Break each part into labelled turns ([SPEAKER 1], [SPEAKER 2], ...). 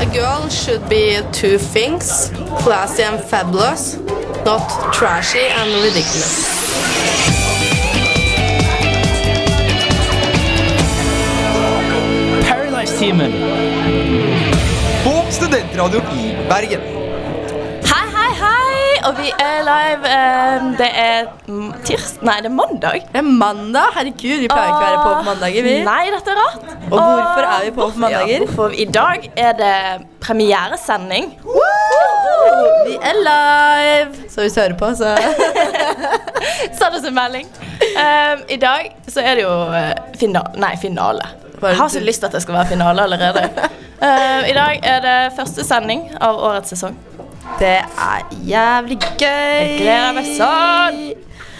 [SPEAKER 1] A girl should be two things classy and fabulous, not trashy and ridiculous.
[SPEAKER 2] Paradise-teamen.
[SPEAKER 3] På Studentradio i Bergen.
[SPEAKER 4] Hei, hei, hei! Og vi er live. eh, Det er m- tirs... Nei, det er mandag.
[SPEAKER 1] Det er mandag. Herregud, vi pleier ikke å være på på mandager, vi.
[SPEAKER 4] Nei, dette er rart.
[SPEAKER 1] Og hvorfor er vi på på mandager?
[SPEAKER 4] Ja, hvorfor? I dag er det premieresending.
[SPEAKER 1] Vi er live! Så hvis du hører på, så
[SPEAKER 4] Sa det som melding. Ehm, I dag så er det jo eh, fina nei, finale.
[SPEAKER 1] Hva er det
[SPEAKER 4] Jeg har
[SPEAKER 1] du-
[SPEAKER 4] så lyst til at det skal være finale allerede. Ehm, I dag er det første sending av årets sesong.
[SPEAKER 1] Det er jævlig gøy.
[SPEAKER 4] Jeg gleder meg sånn.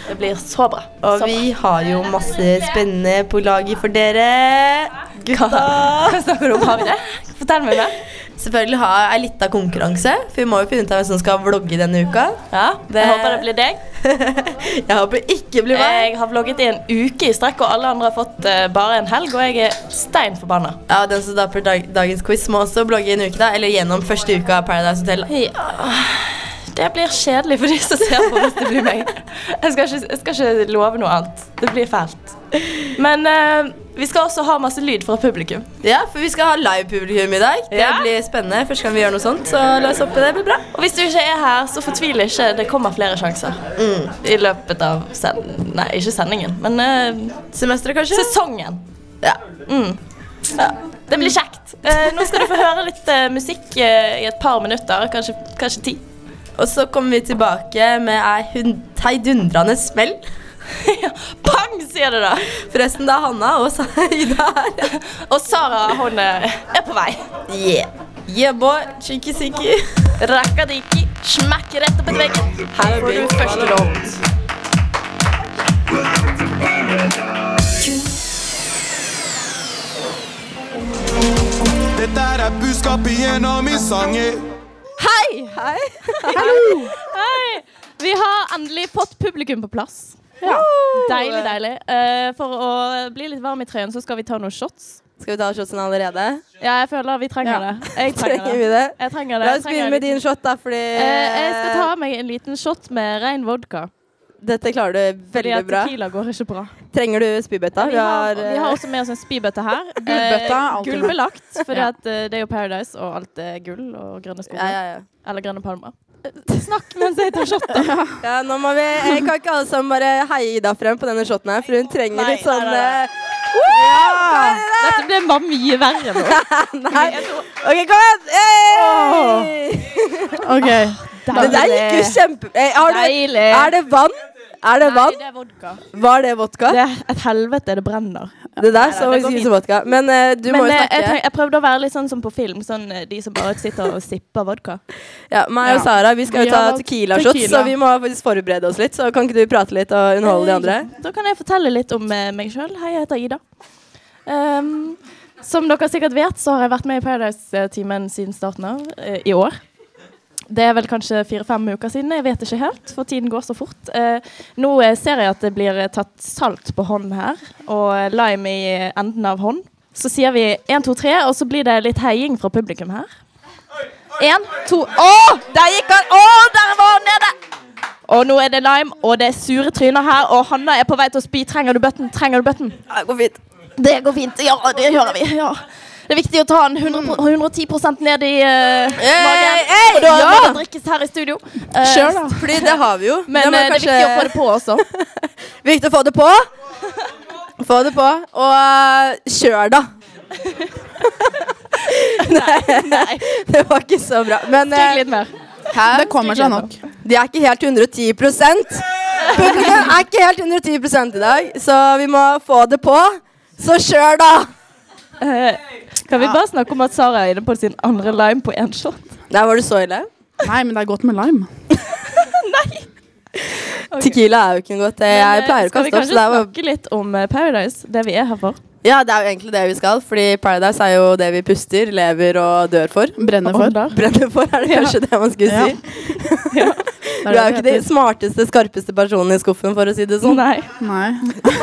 [SPEAKER 4] Det blir så bra.
[SPEAKER 1] Og
[SPEAKER 4] så
[SPEAKER 1] vi har jo masse spennende på laget for dere. Gutta!
[SPEAKER 4] Hva snakker du om? Har vi det? Fortell meg det.
[SPEAKER 1] Selvfølgelig har jeg litt av konkurranse, for vi må jo finne ut av hvem som skal vlogge denne uka.
[SPEAKER 4] Ja,
[SPEAKER 1] det-
[SPEAKER 4] Jeg håper det blir deg.
[SPEAKER 1] jeg håper ikke blir meg.
[SPEAKER 4] Jeg har vlogget i en uke i strekk, og alle andre har fått eh, bare en helg, og jeg er stein forbanna.
[SPEAKER 1] Ja, Den som taper dag dagens quiz, må også blogge i en uke, da. Eller gjennom første uka av Paradise Hotel. da.
[SPEAKER 4] Det blir kjedelig for de som ser på hvis det blir meg. Jeg skal ikke, jeg skal ikke love noe annet. Det blir fælt. Men eh, vi skal også ha masse lyd fra publikum.
[SPEAKER 1] Ja, For vi skal ha live-publikum i dag. Det
[SPEAKER 4] Ja.
[SPEAKER 1] blir spennende. Første gang vi gjør noe sånt, så la oss håpe det blir bra.
[SPEAKER 4] Og hvis du ikke er her, så fortvil ikke. Det kommer flere sjanser. I løpet av send... Nei, ikke sendingen, men eh,
[SPEAKER 1] Semesteret, kanskje?
[SPEAKER 4] sesongen.
[SPEAKER 1] Ja.
[SPEAKER 4] Ja. Det blir kjekt. Eh, nå skal du få høre litt eh, musikk eh, i et par minutter, kanskje, kanskje ti.
[SPEAKER 1] Og så kommer vi tilbake med ei hun- heidundrende smell.
[SPEAKER 4] Ja, Pang, sier det da.
[SPEAKER 1] Forresten, det er Hanna og Saida her.
[SPEAKER 4] Og Sara, hun eh, er på vei.
[SPEAKER 1] Yeah. Yeah, boy. Chiki-siki.
[SPEAKER 4] Rakadiki, smekk rett opp etter veggen. Her får du første låt.
[SPEAKER 5] Dette er et budskap igjennom i sanger.
[SPEAKER 4] Hei! Hei! Hei! Vi har endelig fått publikum på plass. Deilig, deilig. Eh, for å bli litt varm i trøyen, så skal vi ta noen shots.
[SPEAKER 1] Skal vi ta shotsen allerede?
[SPEAKER 4] Ja, jeg føler vi trenger
[SPEAKER 1] Ja.
[SPEAKER 4] det. Jeg trenger
[SPEAKER 1] Trenger vi
[SPEAKER 4] det.
[SPEAKER 1] det?
[SPEAKER 4] Jeg trenger det.
[SPEAKER 1] La
[SPEAKER 4] Jeg
[SPEAKER 1] oss
[SPEAKER 4] trenger
[SPEAKER 1] begynne
[SPEAKER 4] en
[SPEAKER 1] med
[SPEAKER 4] liten-
[SPEAKER 1] din shot, da, fordi
[SPEAKER 4] Eh, jeg skal ta meg en liten shot med ren vodka.
[SPEAKER 1] eh, Dette klarer du
[SPEAKER 4] Fordi
[SPEAKER 1] veldig
[SPEAKER 4] at
[SPEAKER 1] bra.
[SPEAKER 4] Tequila går ikke bra.
[SPEAKER 1] Trenger du spybøtta?
[SPEAKER 4] Vi har, vi har
[SPEAKER 1] eh,
[SPEAKER 4] også med oss en spybøtte her.
[SPEAKER 6] Gullbøtta,
[SPEAKER 4] Eh,
[SPEAKER 6] alltid
[SPEAKER 4] Gullbelagt, for eh, det er jo Paradise, og alt er gull og grønne skoger.
[SPEAKER 1] ja, ja, ja.
[SPEAKER 4] Eller grønne palmer. Eh, Snakk mens jeg tar shot, da.
[SPEAKER 1] ja, nå må vi eh, Kan ikke alle sammen bare heie Ida frem på denne shoten her, for hun trenger
[SPEAKER 4] Nei,
[SPEAKER 1] litt sånn
[SPEAKER 4] nei, nei,
[SPEAKER 1] eh,
[SPEAKER 4] Dette ble bare mye verre nå.
[SPEAKER 1] Nei. OK, kom igjen! Hey!
[SPEAKER 6] OK.
[SPEAKER 1] Det der gikk jo kjempe... Eh, har du,
[SPEAKER 4] Deilig.
[SPEAKER 1] er det vann? Er det vann?
[SPEAKER 4] det er vodka.
[SPEAKER 1] Var det vodka?
[SPEAKER 4] Det er et helvete, det brenner.
[SPEAKER 1] Det der så
[SPEAKER 4] det går
[SPEAKER 1] ut
[SPEAKER 4] fint.
[SPEAKER 1] som vodka. Men eh, du må jo
[SPEAKER 4] Men eh, jeg,
[SPEAKER 1] snakke.
[SPEAKER 4] tenk- jeg prøvde å være litt sånn som på film, sånn eh, de som bare sitter og sipper vodka.
[SPEAKER 1] Ja, meg og
[SPEAKER 6] Ja.
[SPEAKER 1] Sara vi skal jo
[SPEAKER 6] Vi
[SPEAKER 1] ta
[SPEAKER 6] har valgt
[SPEAKER 1] tequila-shots,
[SPEAKER 6] tequila.
[SPEAKER 1] så vi må faktisk forberede oss litt. Så kan ikke du prate litt og underholde de andre?
[SPEAKER 4] Da kan jeg fortelle litt om eh, meg sjøl. Hei, jeg heter Ida. Ehm, som dere sikkert vet, så har jeg vært med i Paradise-teamen siden starten av eh, i år. Det er vel kanskje fire-fem uker siden, jeg vet ikke helt, for tiden går så fort. Eh, nå eh, ser jeg at det blir eh, tatt salt på hånden her, og eh, lime i enden av hånd. Så sier vi én, to, tre, og så blir det litt heiing fra publikum her. Én, to Å, der gikk han! Å, der var han nede! Og nå er det lime, og det er sure tryner her, og Hanna er på vei til å spy. Trenger du bøtten? Trenger du bøtten?
[SPEAKER 1] Ja, Det går fint.
[SPEAKER 4] Det går fint. Ja, det hører vi. Ja. Det er viktig å ta den 100 pro- 110 ned i eh, magen.
[SPEAKER 1] hey,
[SPEAKER 4] og da må
[SPEAKER 1] ja!
[SPEAKER 4] det drikkes her i studio. Eh,
[SPEAKER 6] Kjør, da.
[SPEAKER 1] Fordi det har vi jo.
[SPEAKER 4] Men
[SPEAKER 1] må
[SPEAKER 4] eh, det er
[SPEAKER 1] kanskje-
[SPEAKER 4] viktig å få det på også.
[SPEAKER 1] Viktig å få det på. Få det på. Og eh, kjør, da.
[SPEAKER 4] Nei,
[SPEAKER 1] Det var ikke så bra. Men
[SPEAKER 4] drikk
[SPEAKER 1] eh,
[SPEAKER 4] litt mer.
[SPEAKER 1] hæ?
[SPEAKER 6] Det kommer seg nok.
[SPEAKER 1] de er ikke helt 110 Publikum er ikke helt 110 i dag, så vi må få det på. Så kjør, da.
[SPEAKER 4] Eh, kan vi bare snakke om at Sara er inne på sin andre lime på én shot?
[SPEAKER 1] Der var du så ille.
[SPEAKER 6] Nei, men det er godt med lime.
[SPEAKER 1] Tequila er jo ikke noe godt. eh, Jeg
[SPEAKER 4] Men, eh,
[SPEAKER 1] pleier å
[SPEAKER 4] Skal
[SPEAKER 1] kaste
[SPEAKER 4] vi
[SPEAKER 1] opp.
[SPEAKER 4] kanskje
[SPEAKER 1] Så det var
[SPEAKER 4] snakke litt om eh, Paradise, det vi er her for?
[SPEAKER 1] Ja, det er jo egentlig det vi skal, fordi Paradise er jo det vi puster, lever og dør for.
[SPEAKER 6] Brenner for.
[SPEAKER 4] Ånder.
[SPEAKER 1] Brenner for, er det kanskje det man skulle si.
[SPEAKER 6] Ja.
[SPEAKER 1] Du er jo ikke den smarteste, skarpeste personen i skuffen, for å si det sånn.
[SPEAKER 4] Nei.
[SPEAKER 6] Nei.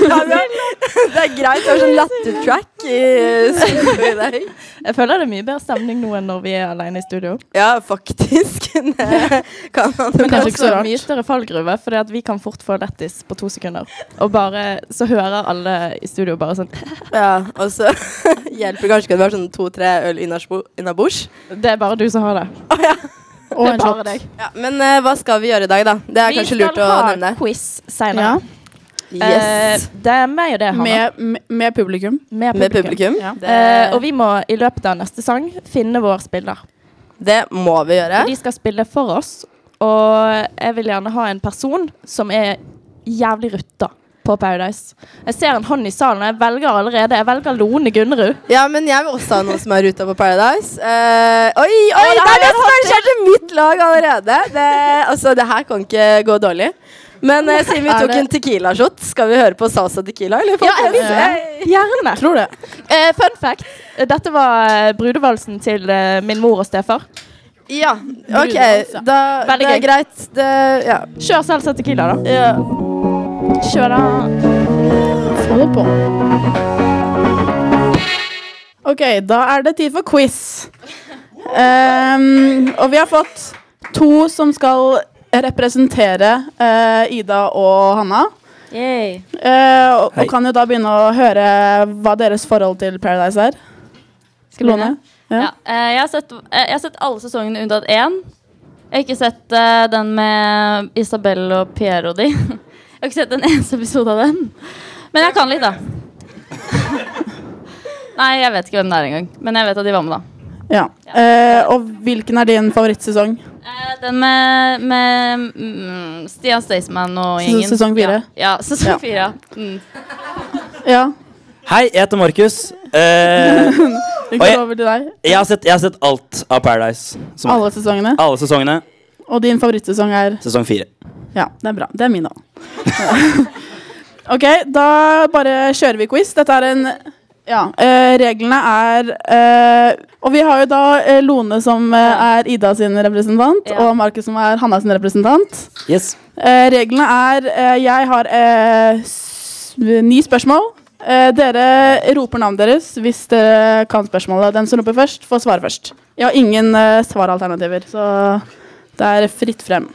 [SPEAKER 1] det er greit, du har sånn latter-track. i studio i dag.
[SPEAKER 4] Jeg føler det er mye bedre stemning nå enn når vi er alene i studio.
[SPEAKER 1] Ja, faktisk. Det kan man jo
[SPEAKER 4] Men det er
[SPEAKER 6] kanskje ikke
[SPEAKER 4] også
[SPEAKER 6] så rart.
[SPEAKER 4] mye større fallgruve, for vi kan fort få lættis på to sekunder. Og bare, så hører alle i studio bare sånn
[SPEAKER 1] Ja, og så hjelper det kanskje ikke at vi har sånn to-tre øl innarsbo- innabords.
[SPEAKER 4] Det er bare du som har det.
[SPEAKER 6] Og
[SPEAKER 4] det
[SPEAKER 6] en
[SPEAKER 4] er bare
[SPEAKER 6] shot.
[SPEAKER 4] deg.
[SPEAKER 1] Ja, men eh, hva skal vi gjøre i dag, da? Det er kanskje lurt å nevne.
[SPEAKER 4] Vi skal ha quiz
[SPEAKER 6] Ja.
[SPEAKER 4] seinere.
[SPEAKER 6] eh,
[SPEAKER 1] Yes.
[SPEAKER 4] det er meg og det, Hanna.
[SPEAKER 6] Med, med- med publikum.
[SPEAKER 4] Med
[SPEAKER 1] Med publikum.
[SPEAKER 6] Ja.
[SPEAKER 1] Det,
[SPEAKER 4] Eh, og vi må i løpet av neste sang finne vår spiller.
[SPEAKER 1] det må vi gjøre.
[SPEAKER 4] De skal spille for oss, og jeg vil gjerne ha en person som er jævlig rutta på Paradise. Jeg ser en hånd i salen, og jeg velger allerede. Jeg velger Lone Gunnerud.
[SPEAKER 1] Ja, men jeg vil også ha noen som er ruta på Paradise. Eh, oi, oi,
[SPEAKER 4] Å, det
[SPEAKER 1] det
[SPEAKER 4] her
[SPEAKER 1] er det
[SPEAKER 4] er
[SPEAKER 1] som har skjedd i mitt lag allerede! Det, altså, det her kan ikke gå dårlig. Men eh, siden vi
[SPEAKER 6] Er
[SPEAKER 1] tok
[SPEAKER 6] det-
[SPEAKER 1] en tequila-shot, skal vi høre på salsa tequila, eller?
[SPEAKER 4] Ja, jeg vil
[SPEAKER 1] folkens?
[SPEAKER 4] det. Gjerne.
[SPEAKER 6] Tror det.
[SPEAKER 4] Eh, fun fact. Dette var eh, brudevalsen til eh, min mor og stefar.
[SPEAKER 1] Ja, OK.
[SPEAKER 6] Brudevals,
[SPEAKER 1] Da,
[SPEAKER 4] Veldig
[SPEAKER 1] det er
[SPEAKER 4] gøy.
[SPEAKER 1] greit. Det, ja.
[SPEAKER 4] Kjør salsa tequila, da. Kjør da.
[SPEAKER 6] Få det på. Ok, da er det tid for quiz. Ehm, og vi har fått to som skal representere eh, Ida og Hanna. Eh, og,
[SPEAKER 3] Hei.
[SPEAKER 6] og kan jo da begynne å høre hva deres forhold til Paradise er.
[SPEAKER 2] Skal vi begynne?
[SPEAKER 6] Ja.
[SPEAKER 2] Ja. eh, jeg, har sett, eh, jeg har sett alle sesongene unntatt én. Jeg har ikke sett eh, den med Isabel og Piero og de. Jeg har ikke sett en eneste episode av den. Men jeg kan litt, da. Nei, jeg vet ikke hvem det er engang. Men jeg vet at de var med, da.
[SPEAKER 6] Ja. Eh, og hvilken er din favorittsesong?
[SPEAKER 2] Eh, den med, med mm, Stian Staysman og
[SPEAKER 6] Ses-
[SPEAKER 2] gjengen.
[SPEAKER 6] sesong fire.
[SPEAKER 2] Ja, ja
[SPEAKER 6] Ja.
[SPEAKER 2] sesong fire. Ja. Mm.
[SPEAKER 6] Ja.
[SPEAKER 7] Hei, jeg heter Markus. Eh, Oi.
[SPEAKER 6] Vi går over til deg.
[SPEAKER 7] jeg, har sett, jeg har sett alt av Paradise. Som, alle.
[SPEAKER 6] Alle sesongene.
[SPEAKER 7] sesongene.
[SPEAKER 6] Og din favorittsesong er
[SPEAKER 7] Sesong fire.
[SPEAKER 6] Ja, det er bra. Det er min, da. ok, da bare kjører vi quiz. Dette er en Ja. eh, reglene er eh, Og vi har jo da eh, Lone som eh, er Ida sin representant,
[SPEAKER 2] Ja.
[SPEAKER 6] og Markus som er Hanna sin representant.
[SPEAKER 7] Yes.
[SPEAKER 6] Eh, reglene er eh, Jeg har eh, s ni spørsmål. Eh, dere roper navnet deres hvis dere kan spørsmålet. Den som roper først, får svare først. Jeg har ingen eh, svaralternativer, så det er fritt frem.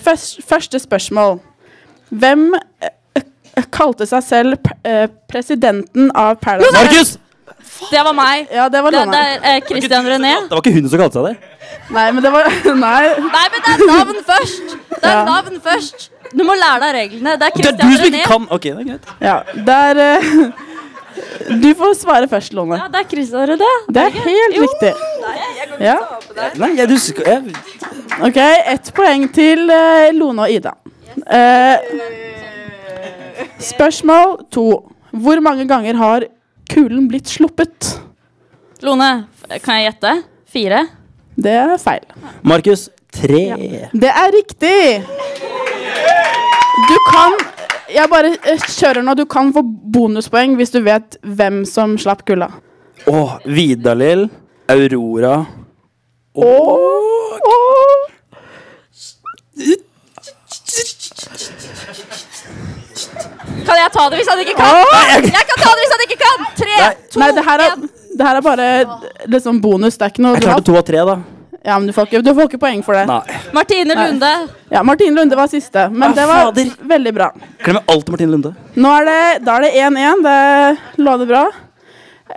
[SPEAKER 6] Først, første spørsmål. Hvem eh, eh, kalte seg selv p- eh, presidenten av Paradise?
[SPEAKER 7] Markus!
[SPEAKER 2] Det var meg.
[SPEAKER 6] Ja, det var
[SPEAKER 2] Det, det
[SPEAKER 6] Lone.
[SPEAKER 2] er eh, Christian René.
[SPEAKER 7] Det var ikke hun som kalte seg det.
[SPEAKER 6] Nei, men det var Nei.
[SPEAKER 2] Nei, men det er navn først! Det er
[SPEAKER 6] Ja.
[SPEAKER 2] navn først! Du må lære deg reglene. Det er
[SPEAKER 7] Det er
[SPEAKER 2] Christian
[SPEAKER 7] du som
[SPEAKER 2] René.
[SPEAKER 7] ikke kan Ok, det er greit.
[SPEAKER 6] Ja, det er eh, Du får svare først, Lone.
[SPEAKER 2] Ja, det er Christian René.
[SPEAKER 6] Det er helt riktig. Ja.
[SPEAKER 7] Nei, jeg, du, sk- jeg,
[SPEAKER 6] Ok, ett poeng til eh, Lone og Ida. Eh, spørsmål to. Hvor mange ganger har kulen blitt sluppet?
[SPEAKER 2] Lone, kan jeg gjette? Fire?
[SPEAKER 6] Det er feil.
[SPEAKER 7] Markus, tre.
[SPEAKER 6] Det er riktig! Du kan Jeg bare eh, kjører nå. Du kan få bonuspoeng hvis du vet hvem som slapp kula.
[SPEAKER 7] Åh, Vidalil, Aurora
[SPEAKER 6] Åh, åh.
[SPEAKER 2] Kan jeg ta det hvis han ikke kan?
[SPEAKER 6] Åh.
[SPEAKER 2] Jeg kan ta det hvis han ikke kan! Tre,
[SPEAKER 7] Nei.
[SPEAKER 2] to,
[SPEAKER 6] Nei, det her er,
[SPEAKER 2] en.
[SPEAKER 6] det her er bare liksom bonus. Det er ikke noe
[SPEAKER 7] Jeg
[SPEAKER 6] du har.
[SPEAKER 7] klarte to av tre, da.
[SPEAKER 6] Ja, men du får ikke, du får ikke poeng for det.
[SPEAKER 7] Nei.
[SPEAKER 2] Martine Lunde.
[SPEAKER 6] Ja, Martine Lunde var siste, men
[SPEAKER 7] Ah,
[SPEAKER 6] det var
[SPEAKER 7] fader.
[SPEAKER 6] veldig bra.
[SPEAKER 7] Klemmer alltid Martine Lunde.
[SPEAKER 6] Nå er det, da er det 1-1. Det låner bra.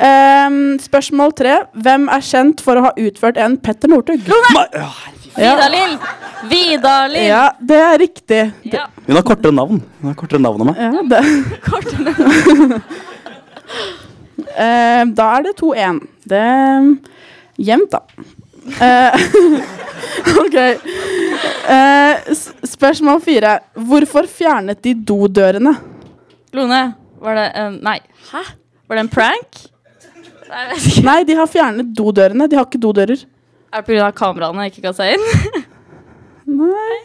[SPEAKER 6] Ehm, spørsmål tre. Hvem er kjent for å ha utført en Petter Northug?
[SPEAKER 7] Ma Åh, herregud.
[SPEAKER 6] Ja.
[SPEAKER 2] Vidar-Lill. Vidar-Lill.
[SPEAKER 6] ja, det er riktig.
[SPEAKER 2] Ja.
[SPEAKER 7] hun har kortere navn Hun har kortere navn enn meg.
[SPEAKER 6] Ja, det. Ehm, da er det 2-1. Det er jevnt, da. Eh, OK. Eh, s- spørsmål fire. Hvorfor fjernet de dodørene?
[SPEAKER 2] Lone, var det en Nei. Hæ? Var det en prank? Nei, jeg vet ikke.
[SPEAKER 6] Nei, de har fjernet dodørene. De har ikke dodører.
[SPEAKER 2] Er det pga. kameraene jeg ikke kan se inn?
[SPEAKER 6] Nei.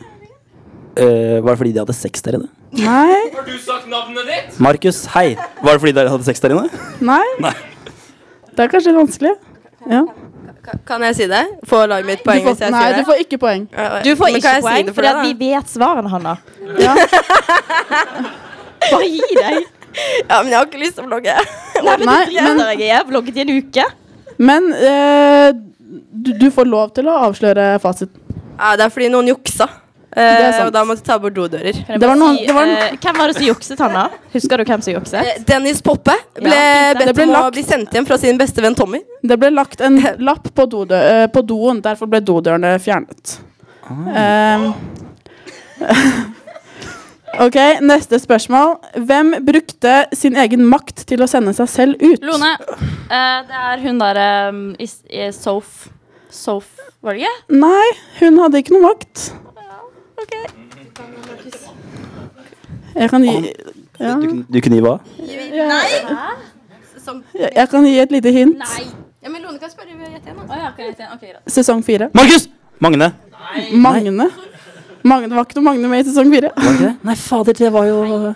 [SPEAKER 7] Eh, var det fordi de hadde sex der inne?
[SPEAKER 6] Nei.
[SPEAKER 7] Markus, hei. Var det fordi dere hadde sex der inne?
[SPEAKER 6] Nei.
[SPEAKER 7] Nei.
[SPEAKER 6] Det er kanskje litt vanskelig. Ja.
[SPEAKER 1] Ka- Kan jeg si det? Får laget mitt poeng
[SPEAKER 6] Du får,
[SPEAKER 1] hvis jeg
[SPEAKER 6] nei,
[SPEAKER 1] sier
[SPEAKER 6] du
[SPEAKER 1] det?
[SPEAKER 6] får ikke poeng.
[SPEAKER 1] Ja,
[SPEAKER 4] Du
[SPEAKER 1] men
[SPEAKER 4] får
[SPEAKER 1] kan
[SPEAKER 4] ikke
[SPEAKER 1] jeg si
[SPEAKER 4] poeng,
[SPEAKER 1] det
[SPEAKER 4] fordi at
[SPEAKER 1] deg,
[SPEAKER 4] vi vet svarene, Hanna.
[SPEAKER 6] Ja.
[SPEAKER 4] Bare gi deg.
[SPEAKER 1] Ja, men jeg har ikke lyst til å vlogge.
[SPEAKER 4] Nei, men
[SPEAKER 6] Nei,
[SPEAKER 4] det driter
[SPEAKER 6] men-
[SPEAKER 4] jeg i. Jeg har vlogget i en uke.
[SPEAKER 6] Men eh, du, du får lov til å avsløre fasiten.
[SPEAKER 1] Ja, det er fordi noen juksa.
[SPEAKER 6] Det er
[SPEAKER 1] Eh, og
[SPEAKER 6] sant.
[SPEAKER 1] da måtte jeg ta bort dodører.
[SPEAKER 4] Kan jeg
[SPEAKER 6] Det var
[SPEAKER 4] bare
[SPEAKER 6] noen-
[SPEAKER 4] si,
[SPEAKER 6] det var noen-
[SPEAKER 4] eh, hvem var det som jukset, Hanna? Husker du hvem som jukset?
[SPEAKER 1] Eh, Dennis Poppe ble
[SPEAKER 4] Ja,
[SPEAKER 1] bedt
[SPEAKER 6] det ble
[SPEAKER 1] om å
[SPEAKER 6] lagt.
[SPEAKER 1] bli sendt hjem fra sin beste venn Tommy.
[SPEAKER 6] Det ble lagt en lapp på, dodø, eh, på doen, derfor ble dodørene fjernet. Eh, ok, neste spørsmål. Hvem brukte sin egen makt til å sende seg selv ut?
[SPEAKER 2] Lone, eh, det er hun der em, i, s- i Sof. Sof, var det ikke?
[SPEAKER 6] Nei, hun hadde ikke noe makt. Jeg kan gi, ja.
[SPEAKER 7] Du, kunne- du kunne gi hva?
[SPEAKER 1] Som,
[SPEAKER 6] jeg jeg kan gi et lite hint.
[SPEAKER 1] ja, men Lone kan spørre rett igjen.
[SPEAKER 2] Å ja, ok, greit, ja, ok, greit.
[SPEAKER 6] Sesong fire.
[SPEAKER 7] Markus! Magne.
[SPEAKER 6] Magne. Magne. Det var ikke noe Magne med i sesong fire.
[SPEAKER 7] Var det ikke det? Nei, fader, det var jo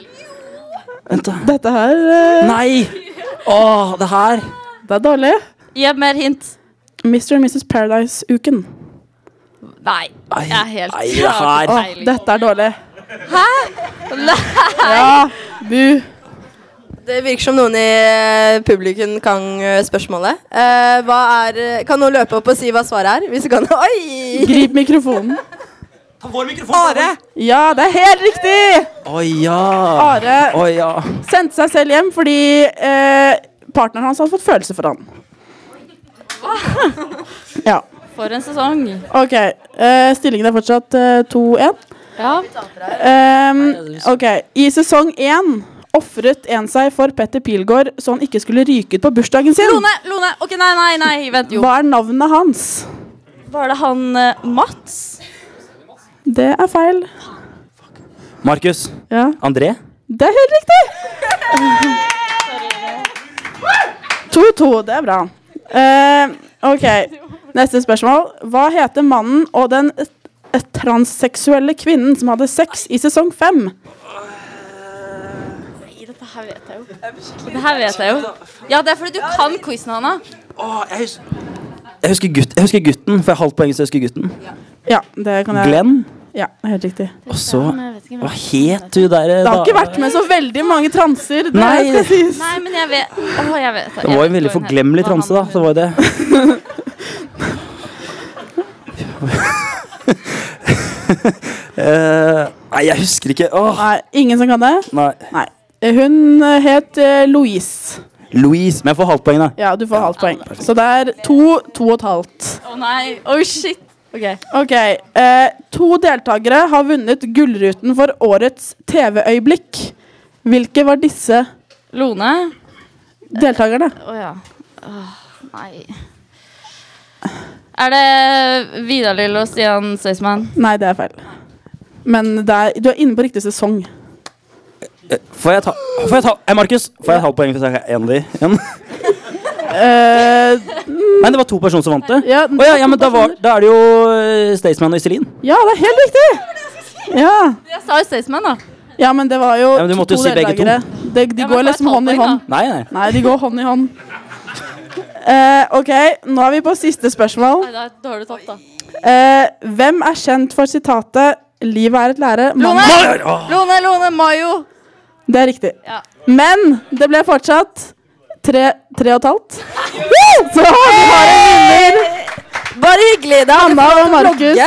[SPEAKER 7] Vent, da.
[SPEAKER 6] Dette her eh,
[SPEAKER 7] Nei! Åh, det her.
[SPEAKER 6] Det er dårlig.
[SPEAKER 2] Gi mer hint.
[SPEAKER 6] Mr. and Mrs. Paradise-uken.
[SPEAKER 2] Nei.
[SPEAKER 7] Nei,
[SPEAKER 2] Jeg er helt
[SPEAKER 7] nei, det her.
[SPEAKER 6] Åh, Ah, dette er dårlig. Hæ? Nei! Ja, bu.
[SPEAKER 1] Det virker som noen i eh, publikum kan eh, spørsmålet. Eh, hva er, eh, kan noen løpe opp og si hva svaret er? Hvis du kan. Oi!
[SPEAKER 6] Grip mikrofonen.
[SPEAKER 1] Are!
[SPEAKER 6] Ja, det er helt riktig!
[SPEAKER 7] Å ja.
[SPEAKER 6] Are
[SPEAKER 7] Å ja.
[SPEAKER 6] sendte seg selv hjem fordi eh, partneren hans hadde fått følelser for han. Ja.
[SPEAKER 2] For en sesong.
[SPEAKER 6] OK. eh, stillingen er fortsatt eh, 2-1.
[SPEAKER 2] Ja.
[SPEAKER 6] Ehm, ok, I sesong én ofret en seg for Petter Pilgaard så han ikke skulle ryke ut på bursdagen sin.
[SPEAKER 2] Lone, Lone. Ok, nei, nei, nei. Vent, jo.
[SPEAKER 6] Hva er navnet hans?
[SPEAKER 2] Var det han eh, Mats?
[SPEAKER 6] Det er feil.
[SPEAKER 7] Markus.
[SPEAKER 6] Ja,
[SPEAKER 7] André.
[SPEAKER 6] Det er helt riktig! 2-2. Det er bra. Ehm, ok, neste spørsmål. Hva heter mannen og den et- transseksuelle kvinnen som hadde sex i sesong fem?
[SPEAKER 2] Nei, dette her vet jeg jo. Dette her vet jeg jo. Ja, det er fordi du kan quizen, Hanna.
[SPEAKER 7] Åh, jeg husker jeg husker, gutt, jeg husker gutten, for jeg er halvt poeng, så jeg husker gutten.
[SPEAKER 6] Ja, det kan jeg
[SPEAKER 7] Glenn.
[SPEAKER 6] Ja, det er helt riktig.
[SPEAKER 7] Og så Hva het du der?
[SPEAKER 6] Det har ikke vært med så veldig mange transer. Det
[SPEAKER 7] Nei.
[SPEAKER 6] skal sies.
[SPEAKER 2] Nei, men jeg vet Åh, jeg vet
[SPEAKER 7] Det var en veldig forglemmelig transe, da. Det var jo det. Eh, nei, jeg husker ikke. Åh,
[SPEAKER 6] Nei, ingen som kan det?
[SPEAKER 7] nei.
[SPEAKER 6] Nei. Hun eh, het eh, Louise.
[SPEAKER 7] Louise. Men jeg får halvt poeng, da.
[SPEAKER 6] Ja, du får halvt poeng. Så det er to, to og et halvt.
[SPEAKER 2] Å nei. Oi, shit. Ok.
[SPEAKER 6] Ok, eh, To deltakere har vunnet Gullruten for årets TV-øyeblikk. Hvilke var disse
[SPEAKER 2] Lone.
[SPEAKER 6] deltakerne?
[SPEAKER 2] Å ja. Åh, nei. Er det Vidar-Lill og Stian Staysman?
[SPEAKER 6] Nei, det er feil. Men det er, du er inne på riktig sesong.
[SPEAKER 7] Får jeg ta Får jeg ta Hei, Markus. Får jeg et halvt poeng hvis jeg er en av de igjen?
[SPEAKER 6] Eh,
[SPEAKER 7] Nei, det var to personer som vant det.
[SPEAKER 6] ja,
[SPEAKER 7] Å ja, ja, men da, var, da er det jo eh, Staysman og Iselin.
[SPEAKER 6] ja, det er helt riktig! Ja,
[SPEAKER 2] Jeg sa jo Staysman, da.
[SPEAKER 6] ja men det var jo
[SPEAKER 7] Ja, men du måtte
[SPEAKER 6] to
[SPEAKER 7] jo si begge to.
[SPEAKER 6] deltakere. De, de
[SPEAKER 2] Ja,
[SPEAKER 6] går
[SPEAKER 2] men da er
[SPEAKER 6] liksom
[SPEAKER 2] det
[SPEAKER 6] hånd i
[SPEAKER 2] halvt poeng,
[SPEAKER 6] hånd.
[SPEAKER 2] da.
[SPEAKER 7] Nei, nei.
[SPEAKER 6] Nei, de går hånd i hånd. Eh, ok, nå er vi på siste spørsmål.
[SPEAKER 2] Nei, da, da har du tapt, da.
[SPEAKER 6] Eh, hvem er kjent for sitatet 'Livet er et lære'?
[SPEAKER 2] Lone!
[SPEAKER 6] Mannen-
[SPEAKER 2] Lone, Lone, Mayo.
[SPEAKER 6] Det er riktig.
[SPEAKER 2] Ja.
[SPEAKER 6] Men det ble fortsatt tre, tre og et halvt. Woo! Så vi har en vinner!
[SPEAKER 1] Bare hyggelig. Da
[SPEAKER 6] Anna og Markus.
[SPEAKER 1] vlogge.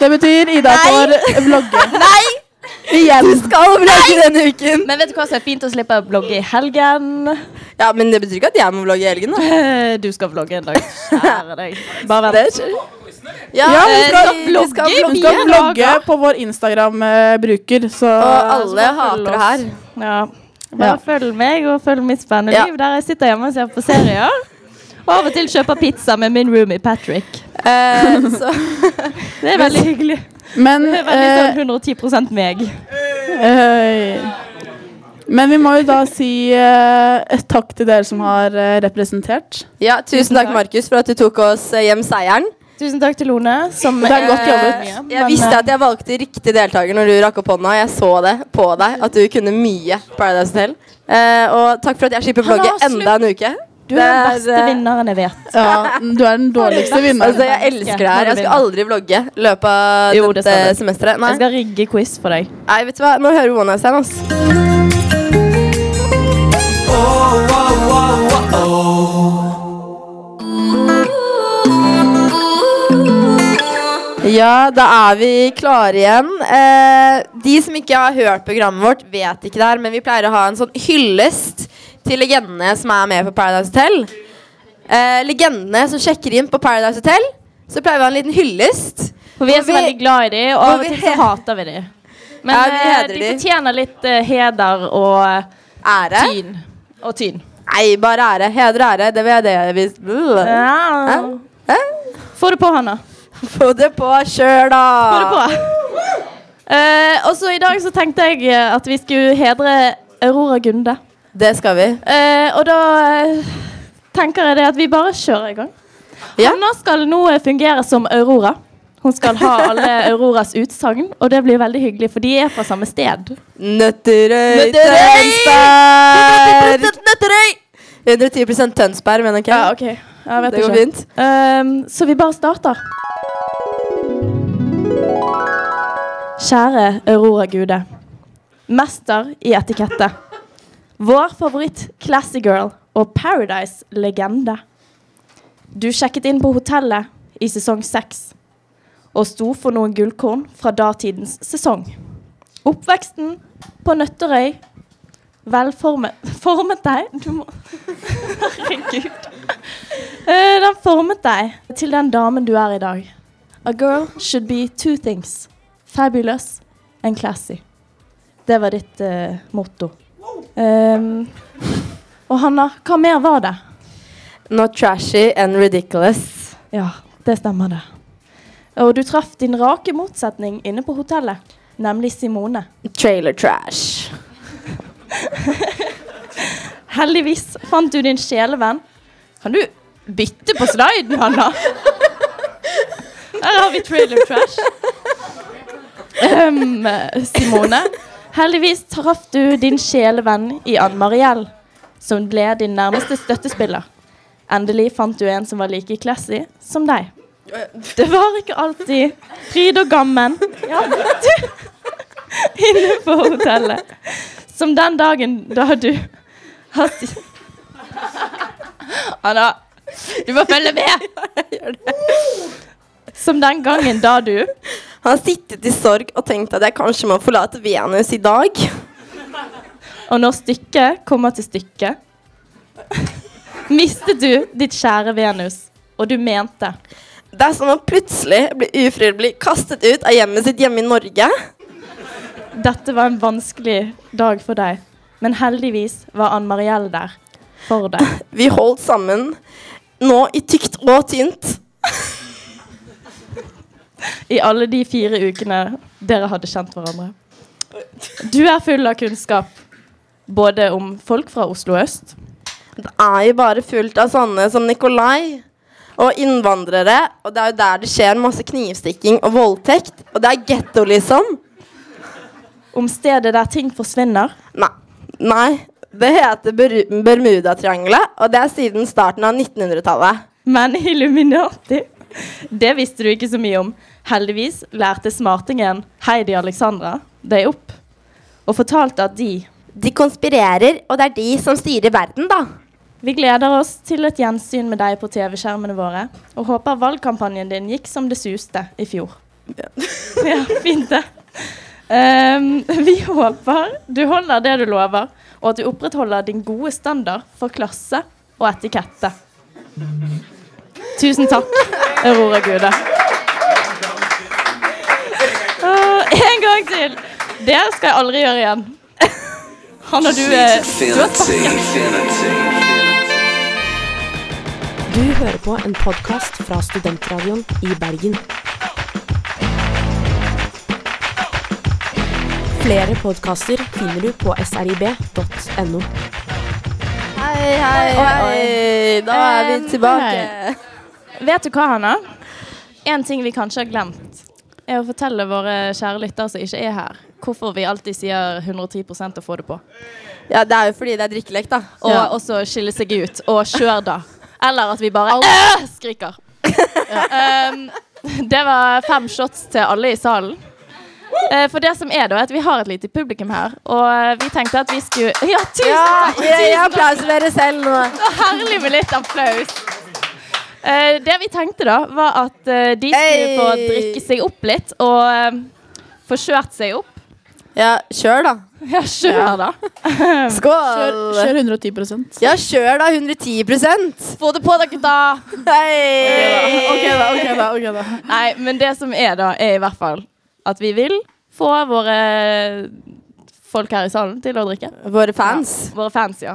[SPEAKER 6] Det betyr Ida får vlogge.
[SPEAKER 2] Nei!
[SPEAKER 6] Igjen.
[SPEAKER 1] Skal vlogge denne uken.
[SPEAKER 4] Men vet du hva som er fint å slippe å vlogge i helgen?
[SPEAKER 1] Ja, Men det betyr ikke at jeg må vlogge i helgen. da.
[SPEAKER 4] Eh, Du skal vlogge en dag. Kjære deg. Bare
[SPEAKER 1] Det
[SPEAKER 4] vent.
[SPEAKER 1] skjer.
[SPEAKER 6] Ja, hun
[SPEAKER 1] eh,
[SPEAKER 6] skal
[SPEAKER 1] vi skal
[SPEAKER 4] vlogge i
[SPEAKER 6] Hun
[SPEAKER 1] vlogge.
[SPEAKER 6] skal vlogge på vår Instagram-bruker, så
[SPEAKER 1] Og alle hater det her.
[SPEAKER 4] Ja.
[SPEAKER 6] Ja.
[SPEAKER 4] Bare følg meg og følg mitt spennende
[SPEAKER 1] Ja.
[SPEAKER 4] liv der jeg sitter hjemme og ser på serier. Og av og til kjøper pizza med min roomie Patrick.
[SPEAKER 1] Eh, så
[SPEAKER 4] Det er veldig hyggelig.
[SPEAKER 6] Men
[SPEAKER 4] Det er veldig
[SPEAKER 6] eh,
[SPEAKER 4] sånn 110 meg.
[SPEAKER 6] Øy. eh, Men vi må jo da si eh, et takk til dere som har eh, representert.
[SPEAKER 1] ja, tusen takk, Markus, for at du tok oss eh, hjem seieren.
[SPEAKER 4] Tusen takk til Lone, som
[SPEAKER 6] Det er godt jobbet.
[SPEAKER 1] Eh, Jeg visste at jeg valgte riktig deltaker når du rakk opp hånda. Jeg så det på deg at du kunne mye Paradise Hotel. Eh, og takk for at jeg slipper
[SPEAKER 4] Han har
[SPEAKER 1] vlogge enda en uke.
[SPEAKER 4] Du er den
[SPEAKER 1] Det er,
[SPEAKER 4] beste
[SPEAKER 1] eh,
[SPEAKER 4] vinneren jeg vet.
[SPEAKER 6] Ja, du er den dårligste vinneren.
[SPEAKER 1] Altså, jeg elsker det her. Jeg skal aldri vlogge i løpet av
[SPEAKER 4] Jo, det
[SPEAKER 1] dette
[SPEAKER 4] skal du.
[SPEAKER 1] semesteret.
[SPEAKER 4] Jeg
[SPEAKER 1] Nei.
[SPEAKER 4] skal rigge quiz for deg.
[SPEAKER 1] Nei, vet du hva? Nå hører vi One Night Stand, ass. Ja, da er vi klare igjen. Eh, de som ikke har hørt programmet vårt, vet ikke det her, men vi pleier å ha en sånn hyllest til legendene som er med på Paradise Hotel. Eh, legendene som sjekker inn på Paradise Hotel, så pleier vi å ha en liten hyllest.
[SPEAKER 2] For vi er
[SPEAKER 1] Og
[SPEAKER 2] så
[SPEAKER 1] vi-
[SPEAKER 2] veldig glad i dem, og
[SPEAKER 1] og
[SPEAKER 2] av og
[SPEAKER 1] vi
[SPEAKER 2] til så
[SPEAKER 1] he-
[SPEAKER 2] hater vi dem. Men
[SPEAKER 1] Ja, vi
[SPEAKER 2] eh,
[SPEAKER 1] hedrer
[SPEAKER 2] de
[SPEAKER 1] de.
[SPEAKER 2] fortjener litt eh, heder og eh,
[SPEAKER 1] Ære.
[SPEAKER 2] tyn. Og tyn.
[SPEAKER 1] Nei, bare ære. Heder og ære. Det var det vi
[SPEAKER 2] Ja.
[SPEAKER 1] Hæ? Hæ?
[SPEAKER 2] Få det på, Hanna.
[SPEAKER 1] Få det på sjøl, da.
[SPEAKER 2] Få det på.
[SPEAKER 4] Eh, og så i dag så tenkte jeg eh, at vi skulle hedre Aurora Gunde.
[SPEAKER 1] Det skal vi.
[SPEAKER 4] Eh, og da eh, tenker jeg det at vi bare kjører i gang.
[SPEAKER 1] Ja.
[SPEAKER 4] Hanna skal nå eh, fungere som Aurora. Hun skal ha alle Auroras utsagn, og det blir veldig hyggelig, for de er fra samme sted.
[SPEAKER 1] Nøtterøy,
[SPEAKER 4] Nøtterøy!
[SPEAKER 1] Tønsberg. Nøtterøy! 110 Tønsberg, mener jeg.
[SPEAKER 4] Ja, ok. Jeg vet
[SPEAKER 1] Det går
[SPEAKER 4] ikke.
[SPEAKER 1] fint.
[SPEAKER 4] Ehm, så vi bare starter. Kjære Aurora Gude. Mester i etikette. Vår favoritt Classy Girl og Paradise-legende. Du sjekket inn på hotellet i sesong seks og sto for noen gullkorn fra datidens sesong. Oppveksten på Nøtterøy velformet Formet deg Du må Herregud. Eh, Den formet deg til den damen du er i dag. A girl should be two things. Fabulous and classy. Det var ditt eh, motto. Ehm, og Hanna, hva mer var det?
[SPEAKER 1] Not trashy and ridiculous.
[SPEAKER 4] Ja, det stemmer det. Og du traff din rake motsetning inne på hotellet, nemlig Simone.
[SPEAKER 1] Trailer trash.
[SPEAKER 4] Heldigvis fant du din sjelevenn. Kan du bytte på sliden, Hanna? Her har vi trailer trash. Ehm, Simone. Heldigvis traff du din sjelevenn i Ann Mariell, som ble din nærmeste støttespiller. Endelig fant du en som var like classy som deg. Det var ikke alltid fryd og gammen ja, du, inne på hotellet. Som den dagen da du har si- Anna, du må følge med! Som den gangen da du
[SPEAKER 1] Han har sittet i sorg og tenkt at jeg kanskje må forlate Venus i dag.
[SPEAKER 4] Og når stykket kommer til stykket, mistet du ditt kjære Venus. Og du mente
[SPEAKER 1] Det er som om plutselig blir ufrivillig kastet ut av hjemmet sitt hjemme i Norge.
[SPEAKER 4] dette var en vanskelig dag for deg, men heldigvis var Ann Mariell der for deg.
[SPEAKER 1] Vi holdt sammen, nå i tykt og tynt.
[SPEAKER 4] I alle de fire ukene dere hadde kjent hverandre. Du er full av kunnskap, både om folk fra Oslo øst
[SPEAKER 1] Det er jo bare fullt av sånne som Nikolai og innvandrere. Og det er jo der det skjer masse knivstikking og voldtekt. Og det er getto, liksom.
[SPEAKER 4] om stedet der ting forsvinner.
[SPEAKER 1] Nei. Nei. Det heter Ber- Bermudatriangelet, og det er siden starten av 1900-tallet.
[SPEAKER 4] Men Illuminati, det visste du ikke så mye om. Heldigvis lærte smartingen Heidi Alexandra deg opp, og fortalte at de
[SPEAKER 1] De konspirerer, og det er de som styrer verden, da.
[SPEAKER 4] Vi gleder oss til et gjensyn med deg på TV-skjermene våre, og håper valgkampanjen din gikk som det suste i fjor. Ja, fint det. Ehm, vi håper du holder det du lover, og at du opprettholder din gode standard for klasse og etikette. Tusen takk, Aurora Gude. Ah, en gang til! Det skal jeg aldri gjøre igjen. Hanna, du eh, er du har sparket.
[SPEAKER 8] Du hører på en podkast fra Studentradioen i Bergen. Flere podkaster finner du på srib.no.
[SPEAKER 1] Hei, hei, hei. Da er vi
[SPEAKER 4] Um,
[SPEAKER 1] tilbake.
[SPEAKER 4] Vet du hva, Hanna? En ting vi kanskje har glemt, er å fortelle våre kjære lyttere som ikke er her, hvorfor vi alltid sier 110 å få det på.
[SPEAKER 1] Ja, det er jo fordi det er drikkelek, da.
[SPEAKER 4] Og
[SPEAKER 1] Ja.
[SPEAKER 4] også skille seg ut. Og kjør, da. Eller at vi bare «Æ!»
[SPEAKER 2] ehm,
[SPEAKER 4] skriker. Ja. Um, det var fem shots til alle i salen.
[SPEAKER 2] Eh, For det som er da, er at vi har et lite publikum her, og eh, vi tenkte at vi skulle Ja, tusen
[SPEAKER 1] Ja,
[SPEAKER 2] takk!
[SPEAKER 1] gi gi applaus til dere selv nå.
[SPEAKER 2] Så herlig med litt applaus. Eh, det vi tenkte, da, var at eh, de skulle få
[SPEAKER 1] Hey!
[SPEAKER 2] drikke seg opp litt og eh, få kjørt seg opp.
[SPEAKER 1] Ja, kjør, da.
[SPEAKER 2] Ja, kjør, da.
[SPEAKER 6] Kjør,
[SPEAKER 1] Skål.
[SPEAKER 6] kjør 110
[SPEAKER 1] Ja, kjør, da. 110
[SPEAKER 2] Få det på dere, da!
[SPEAKER 1] Hei!
[SPEAKER 6] Ok, da. ok da, ok da
[SPEAKER 2] Nei, men det som er, da, er i hvert fall at vi vil få våre folk her i salen til å drikke.
[SPEAKER 1] Våre fans.
[SPEAKER 2] Våre fans, ja.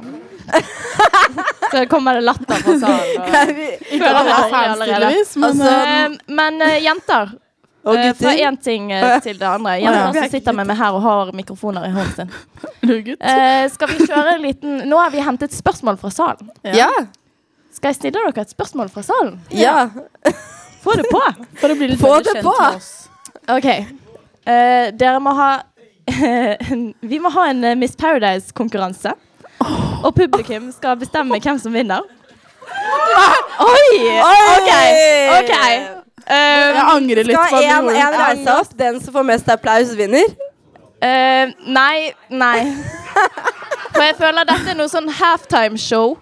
[SPEAKER 2] Så kommer det latter fra salen. Og...
[SPEAKER 6] Ikke alle
[SPEAKER 2] Føler
[SPEAKER 6] er
[SPEAKER 2] meg
[SPEAKER 6] fans,
[SPEAKER 2] allerede.
[SPEAKER 6] tydeligvis, men
[SPEAKER 1] Altså,
[SPEAKER 6] eh,
[SPEAKER 2] Eh, men eh, jenter,
[SPEAKER 1] Og
[SPEAKER 2] eh, fra
[SPEAKER 1] gutter.
[SPEAKER 2] én ting eh, til det andre.
[SPEAKER 6] Å, ja.
[SPEAKER 2] Jenter som sitter med meg her og har mikrofoner i hånden sin.
[SPEAKER 6] Rugut.
[SPEAKER 2] Eh, skal vi kjøre en liten Nå har vi hentet spørsmål fra salen.
[SPEAKER 1] Ja.
[SPEAKER 2] Skal jeg stille dere et spørsmål fra salen?
[SPEAKER 1] ja.
[SPEAKER 2] Få det på!
[SPEAKER 6] For å bli litt
[SPEAKER 1] Få
[SPEAKER 6] bedre
[SPEAKER 1] det
[SPEAKER 6] kjent
[SPEAKER 1] på.
[SPEAKER 6] med oss.
[SPEAKER 2] OK. Eh, dere må ha Vi må ha en eh, Miss Paradise-konkurranse. Og publikum skal bestemme hvem som vinner. Oi! OK. ok. Eh,
[SPEAKER 6] Jeg angrer litt på
[SPEAKER 1] Skal
[SPEAKER 6] at vi
[SPEAKER 1] en,
[SPEAKER 6] gjorde
[SPEAKER 1] en
[SPEAKER 6] det.
[SPEAKER 1] reise opp? Den som får mest applaus, vinner?
[SPEAKER 2] Eh, nei, nei. For jeg føler dette er noe sånn halftime-show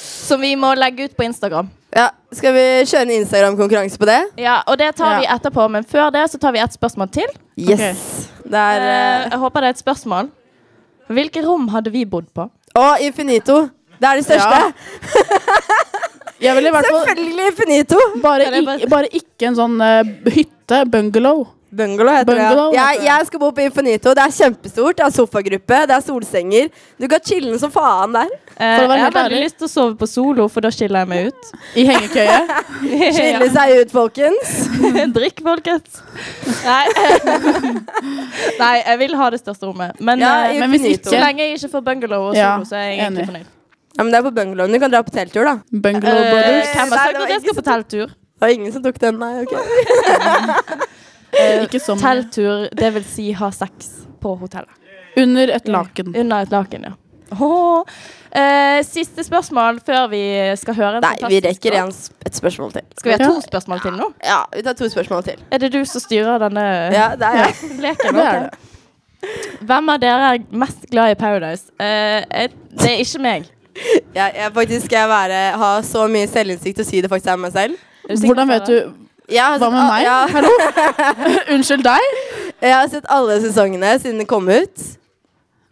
[SPEAKER 2] som vi må legge ut på Instagram.
[SPEAKER 1] Ja. Skal vi kjøre en Instagram-konkurranse på det?
[SPEAKER 2] Ja, Og det tar
[SPEAKER 6] Ja.
[SPEAKER 2] vi etterpå, men før det så tar vi et spørsmål til.
[SPEAKER 1] Yes. Det
[SPEAKER 2] Eh,
[SPEAKER 1] er eh,
[SPEAKER 2] jeg håper det er et spørsmål. Hvilke rom hadde vi bodd på?
[SPEAKER 1] Og Infinito. Det er det største.
[SPEAKER 6] Jeg ville i hvert fall
[SPEAKER 1] Selvfølgelig Infinito.
[SPEAKER 6] bare,
[SPEAKER 2] Kan jeg bare-
[SPEAKER 6] ik- bare ikke en sånn eh, hytte, bungalow.
[SPEAKER 1] Bungalow heter
[SPEAKER 6] Bungalow
[SPEAKER 1] det. ja.
[SPEAKER 6] heter
[SPEAKER 1] Jeg,
[SPEAKER 6] det.
[SPEAKER 1] jeg skal bo på Infinito. Det er kjempestort. Det er sofagruppe, det er solsenger. Du kan chille som faen der.
[SPEAKER 2] Eh,
[SPEAKER 6] For å være
[SPEAKER 2] jeg har
[SPEAKER 6] helt
[SPEAKER 2] veldig
[SPEAKER 6] ærlig.
[SPEAKER 2] lyst til å sove på solo, for da skiller jeg meg ut.
[SPEAKER 6] I hengekøye.
[SPEAKER 1] Chille seg ut, folkens.
[SPEAKER 2] Drikk, folkens. Nei. Nei, jeg vil ha det største rommet. Men,
[SPEAKER 1] Ja,
[SPEAKER 2] eh,
[SPEAKER 1] i-
[SPEAKER 6] Men hvis
[SPEAKER 2] så
[SPEAKER 6] ikke
[SPEAKER 2] lenge jeg ikke får bungalow og solo,
[SPEAKER 6] Ja,
[SPEAKER 2] så er jeg egentlig
[SPEAKER 6] enig.
[SPEAKER 2] fornøyd.
[SPEAKER 1] Ja, men det er på bungalowen. Du kan dra på telttur, da.
[SPEAKER 6] Bungalow
[SPEAKER 2] Eh,
[SPEAKER 6] Brothers.
[SPEAKER 2] Hvem har
[SPEAKER 1] Nei,
[SPEAKER 2] sagt
[SPEAKER 1] det var
[SPEAKER 2] at jeg
[SPEAKER 1] ingen
[SPEAKER 2] skal på telttur?
[SPEAKER 1] Det var ingen som tok den, nei. ok
[SPEAKER 6] eh, Ikke som
[SPEAKER 2] Telttur, det vil si ha sex på hotellet.
[SPEAKER 6] Under et laken.
[SPEAKER 2] Under et laken, ja. Åh. Eh, siste spørsmål før vi skal høre en
[SPEAKER 1] Nei, vi
[SPEAKER 2] fantastisk
[SPEAKER 1] rekker
[SPEAKER 2] låt.
[SPEAKER 1] en, s- et spørsmål til.
[SPEAKER 2] Skal vi ha to spørsmål til nå?
[SPEAKER 1] Ja, vi tar to spørsmål til.
[SPEAKER 2] Er det du som styrer denne
[SPEAKER 1] Ja, det er jeg.
[SPEAKER 2] leken?
[SPEAKER 6] Det er
[SPEAKER 2] Ok. Hvem av dere er mest glad i Paradise? Eh, jeg- det er ikke meg.
[SPEAKER 1] Jeg, jeg faktisk skal jeg være, ha så mye selvinnsikt og si det faktisk er meg selv.
[SPEAKER 2] Er sikker
[SPEAKER 6] Hvordan
[SPEAKER 2] på
[SPEAKER 6] vet
[SPEAKER 2] det?
[SPEAKER 6] du
[SPEAKER 1] Jeg har
[SPEAKER 6] Hva
[SPEAKER 1] sett
[SPEAKER 6] med
[SPEAKER 2] Ah,
[SPEAKER 1] al-
[SPEAKER 6] meg?
[SPEAKER 1] Ja,
[SPEAKER 6] Hallo? Unnskyld deg?
[SPEAKER 1] jeg har sett alle sesongene siden det kom ut.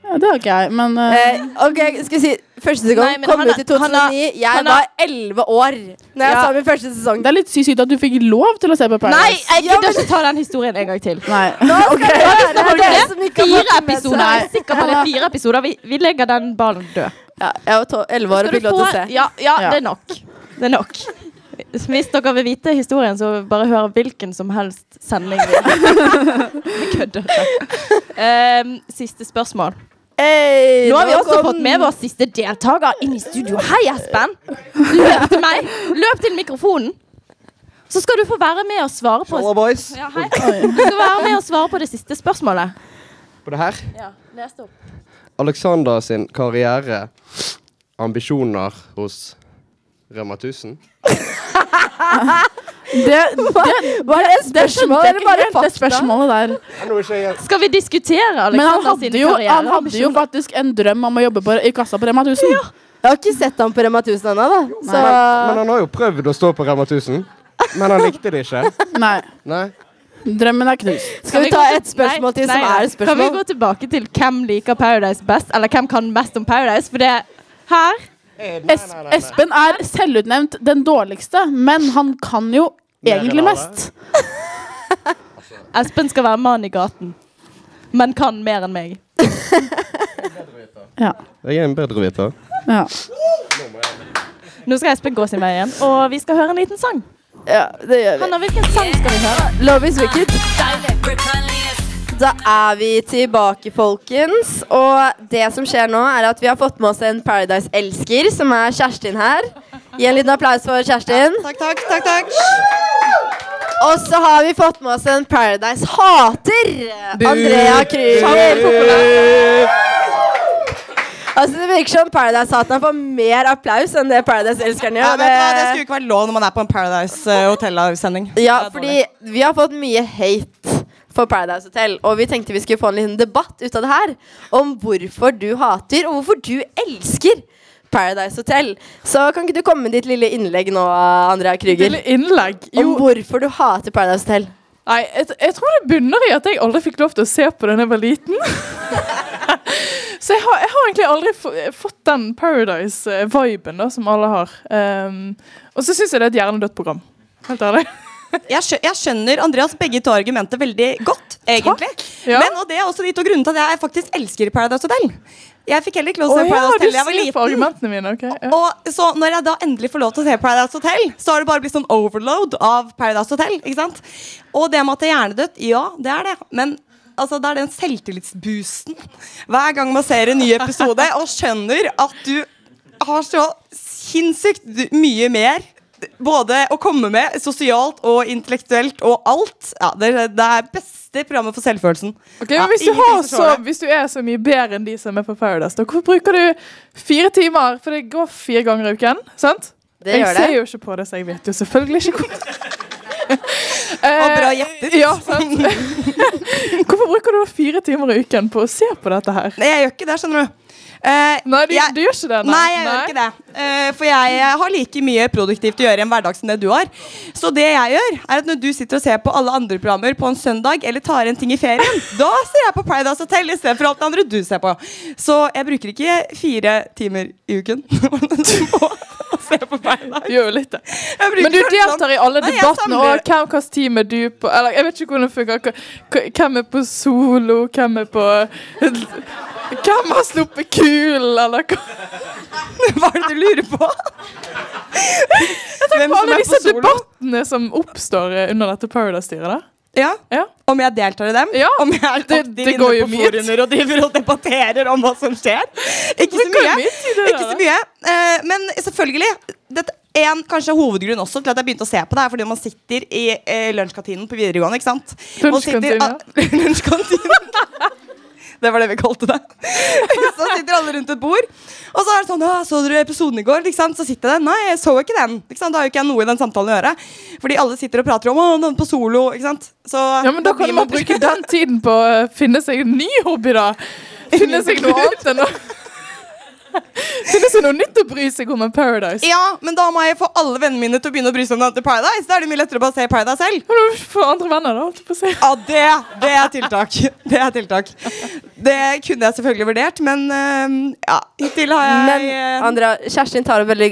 [SPEAKER 6] Ja, det har ikke jeg, men eh,
[SPEAKER 1] Eh, ok, skal vi si Første
[SPEAKER 2] Nei,
[SPEAKER 1] sesong
[SPEAKER 2] men
[SPEAKER 1] kom
[SPEAKER 2] han
[SPEAKER 1] ut
[SPEAKER 2] er-
[SPEAKER 1] i 2009. Jeg
[SPEAKER 2] han er-
[SPEAKER 1] var 11 år Når jeg
[SPEAKER 2] Ja.
[SPEAKER 1] sa min første sesong.
[SPEAKER 6] det er litt sykt at du fikk lov til å se på
[SPEAKER 2] Nei,
[SPEAKER 6] Paradise.
[SPEAKER 2] jeg gidder ikke ta den historien en gang til.
[SPEAKER 6] Nei.
[SPEAKER 1] Ok, det er dere som ikke har
[SPEAKER 2] Fire
[SPEAKER 1] fått det med seg.
[SPEAKER 2] episoder. Jeg er sikker på det er fire episoder. Vi, vi legger den ballen død.
[SPEAKER 1] Ja, jeg var to- 11 år og fikk lov til å se.
[SPEAKER 2] Ja, ja,
[SPEAKER 6] Ja.
[SPEAKER 2] det er nok. Det er nok. Hvis dere vil vite historien, så bare hør hvilken som helst sending. vi har. Jeg kødder. Ehm, siste spørsmål.
[SPEAKER 1] Hey,
[SPEAKER 2] Nå har vi også
[SPEAKER 1] kom-
[SPEAKER 2] fått med vår siste deltaker inn i studio. Hei, Espen! Løp til meg! Løp til mikrofonen! Så skal du få være med og svare på
[SPEAKER 9] Halla, boys.
[SPEAKER 2] ja, hei. Du skal være med og svare på det siste spørsmålet.
[SPEAKER 10] på det her.
[SPEAKER 2] Ja, les det opp.
[SPEAKER 10] Alexander sin karriere, ambisjoner hos Rema 1000.
[SPEAKER 6] Det, det,
[SPEAKER 1] Var det et spørsmål
[SPEAKER 6] det,
[SPEAKER 1] eller bare
[SPEAKER 6] det
[SPEAKER 1] fakta?
[SPEAKER 6] spørsmålet der.
[SPEAKER 2] Skal vi diskutere
[SPEAKER 6] Men han
[SPEAKER 2] Alexander sin
[SPEAKER 6] hadde, jo,
[SPEAKER 2] karriere?
[SPEAKER 6] han hadde jo faktisk en drøm om å jobbe på, i kassa på Rema 1000.
[SPEAKER 1] Jeg har ikke sett ham på Rema 1000 ennå, da. Så
[SPEAKER 10] Men han har jo prøvd å stå på Rema 1000, men han likte det ikke.
[SPEAKER 6] Nei,
[SPEAKER 10] Nei.
[SPEAKER 6] drømmen er knust.
[SPEAKER 1] skal vi
[SPEAKER 2] gå
[SPEAKER 1] ta
[SPEAKER 2] til-
[SPEAKER 1] et spørsmål
[SPEAKER 2] Nei,
[SPEAKER 1] til som
[SPEAKER 2] nei,
[SPEAKER 1] er et
[SPEAKER 2] Kan vi gå
[SPEAKER 1] spørsmål?
[SPEAKER 2] tilbake til hvem liker Paradise best, eller hvem kan mest om Paradise? For det her
[SPEAKER 6] Es Espen er selvutnevnt den dårligste, men han kan jo egentlig mest.
[SPEAKER 2] Espen skal være mann i gaten, men kan mer enn meg.
[SPEAKER 6] Ja.
[SPEAKER 10] Jeg er en bedreviter.
[SPEAKER 6] ja.
[SPEAKER 2] Nå skal Espen gå sin vei igjen, og vi skal høre en liten sang.
[SPEAKER 1] Ja, det gjør vi.
[SPEAKER 2] Hanna, hvilken sang skal vi høre?
[SPEAKER 1] Love is wicked. Da er vi tilbake, folkens. Og det som skjer nå, er at vi har fått med oss en Paradise-elsker, som er Kjerstin her. Gi en liten applaus for Kjerstin.
[SPEAKER 9] Takk, takk, takk, takk.
[SPEAKER 1] Og så har vi fått med oss en Paradise-hater. Andrea Krüger. Altså, det virker som Paradise-hateren får mer applaus enn det Paradise-elskeren
[SPEAKER 9] Ja,
[SPEAKER 1] gjør. og
[SPEAKER 9] vet du hva, det skulle ikke vært lov når man er på en Paradise Hotel-sending.
[SPEAKER 1] Ja, fordi vi har fått mye hate på Paradise Hotel. Og vi tenkte vi skulle få en liten debatt ut av det her om hvorfor du hater, og hvorfor du elsker Paradise Hotel. Så kan ikke du komme med ditt lille innlegg nå, Andrea Krüger?
[SPEAKER 6] Lille innlegg.
[SPEAKER 1] Om
[SPEAKER 6] Jo,
[SPEAKER 1] hvorfor du hater Paradise Hotel.
[SPEAKER 6] nei, jeg, jeg tror det bunner i at jeg aldri fikk lov til å se på den da jeg var liten. Så jeg har, jeg har egentlig aldri få- fått den Paradise-viben da, som alle har. Um, og så syns jeg det er et hjernedødt program. Helt ærlig.
[SPEAKER 10] Jeg, skjø jeg skjønner Andreas begge to argumenter veldig godt, egentlig.
[SPEAKER 6] Ja.
[SPEAKER 10] Men og det er også de to grunnene til at jeg faktisk elsker Paradise Hotel. Jeg fikk heller ikke lov til å
[SPEAKER 6] Å
[SPEAKER 10] se
[SPEAKER 6] ja,
[SPEAKER 10] Paradise
[SPEAKER 6] du
[SPEAKER 10] Hotel da jeg var
[SPEAKER 6] ser på
[SPEAKER 10] liten.
[SPEAKER 6] argumentene mine. ok. Ja.
[SPEAKER 10] Og så når jeg da endelig får lov til å se Paradise Hotel, så har det bare blitt sånn overload av Paradise Hotel. ikke sant? Og det med at det er hjernedødt, ja, det er det. Men altså, det er den selvtillitsboosten hver gang man ser en ny episode og skjønner at du har så sinnssykt d- mye mer. Både å komme med sosialt og intellektuelt og alt. Ja, det, det er beste programmet for selvfølelsen.
[SPEAKER 6] Ok, men hvis,
[SPEAKER 10] Ja,
[SPEAKER 6] du har
[SPEAKER 10] ingenting som
[SPEAKER 6] så,
[SPEAKER 10] slår det.
[SPEAKER 6] hvis du er så mye bedre enn de som er på Paradise, da, hvorfor bruker du fire timer? For det går fire ganger i uken, sant?
[SPEAKER 1] Det
[SPEAKER 6] jeg
[SPEAKER 1] gjør
[SPEAKER 6] ser
[SPEAKER 1] det.
[SPEAKER 6] jo ikke på det, så jeg vet jo selvfølgelig ikke hvor
[SPEAKER 10] Og bra
[SPEAKER 6] Eh,
[SPEAKER 10] gjettet.
[SPEAKER 6] ja, sant. Hvorfor bruker du da fire timer i uken på å se på dette her?
[SPEAKER 10] Nei, jeg gjør ikke det, skjønner du. Eh,
[SPEAKER 6] Nei, du,
[SPEAKER 10] jeg-
[SPEAKER 6] du gjør ikke det.
[SPEAKER 10] Nei, jeg gjør ikke det. Eh, for jeg eh, har like mye produktivt å gjøre i en hverdag som det du har. Så det jeg gjør, er at når du sitter og ser på alle andre programmer på en søndag, eller tar en ting i ferien, da ser jeg på Paradise Hotel istedenfor alt det andre du ser på. Så jeg bruker ikke fire timer i uken på å se på Paradise.
[SPEAKER 6] Du gjør jo litt det.
[SPEAKER 10] Jeg bruker
[SPEAKER 6] Men du
[SPEAKER 10] kanskje sånn-
[SPEAKER 6] deltar i alle
[SPEAKER 10] Nei, jeg
[SPEAKER 6] debattene.
[SPEAKER 10] samler-
[SPEAKER 6] Og hvem hvilken team er du på? Eller, jeg vet ikke hvordan det funker. Hva- hva- Hvem er på solo? Hvem er på Hvem har sluppet kulen, eller hva?
[SPEAKER 10] sånn- Hva er det du lurer på? Hvem
[SPEAKER 6] Alle disse
[SPEAKER 10] solo?
[SPEAKER 6] debattene som oppstår eh, under dette Paradise-styret, da.
[SPEAKER 10] Ja.
[SPEAKER 6] Ja.
[SPEAKER 10] Om jeg deltar i dem?
[SPEAKER 6] Ja,
[SPEAKER 10] Om jeg er
[SPEAKER 6] det-
[SPEAKER 10] aktiv
[SPEAKER 6] det
[SPEAKER 10] inne
[SPEAKER 6] går jo
[SPEAKER 10] på
[SPEAKER 6] mye
[SPEAKER 10] forumer og driver og debatterer om hva som skjer? Ikke så
[SPEAKER 6] går jo
[SPEAKER 10] mye.
[SPEAKER 6] mye tid i det,
[SPEAKER 10] Ikke så
[SPEAKER 6] da.
[SPEAKER 10] mye. Eh, Men selvfølgelig dette en kanskje hovedgrunn også til at jeg begynte å se på det, er fordi man sitter i eh, lunsjkantinen på videregående. ikke sant? Og sitter-
[SPEAKER 6] Lunsjkantinen.
[SPEAKER 10] Ah, lunsjkantinen. Det var det vi kalte det. Så sitter alle rundt et bord. Og så er det sånn «Å, 'Så dere episoden i går?' Ikke sant? Så sitter jeg der. Nei, jeg så ikke den. Ikke sant? Da har jo ikke jeg noe i den samtalen å gjøre. Fordi alle sitter og prater om 'Å, den på solo'. Ikke sant? Så
[SPEAKER 6] Ja, men da kan
[SPEAKER 10] blir
[SPEAKER 6] man bruke den tiden på å finne seg en ny hobby, da. Finne seg noe annet enn å Finne seg noe nytt å bry seg om enn Paradise.
[SPEAKER 10] Ja, men da må jeg få alle vennene mine til å begynne å bry seg om den til Paradise. Da er det mye lettere å bare se Paradise selv.
[SPEAKER 6] Men du får andre venner, da. Holdt jeg på å si.
[SPEAKER 10] Ja, det, det er tiltak. Det er tiltak. Det kunne jeg selvfølgelig vurdert, men øhm, ja, hittil har jeg
[SPEAKER 1] Men
[SPEAKER 10] øh,
[SPEAKER 1] Andrea, Kjerstin tar et veldig,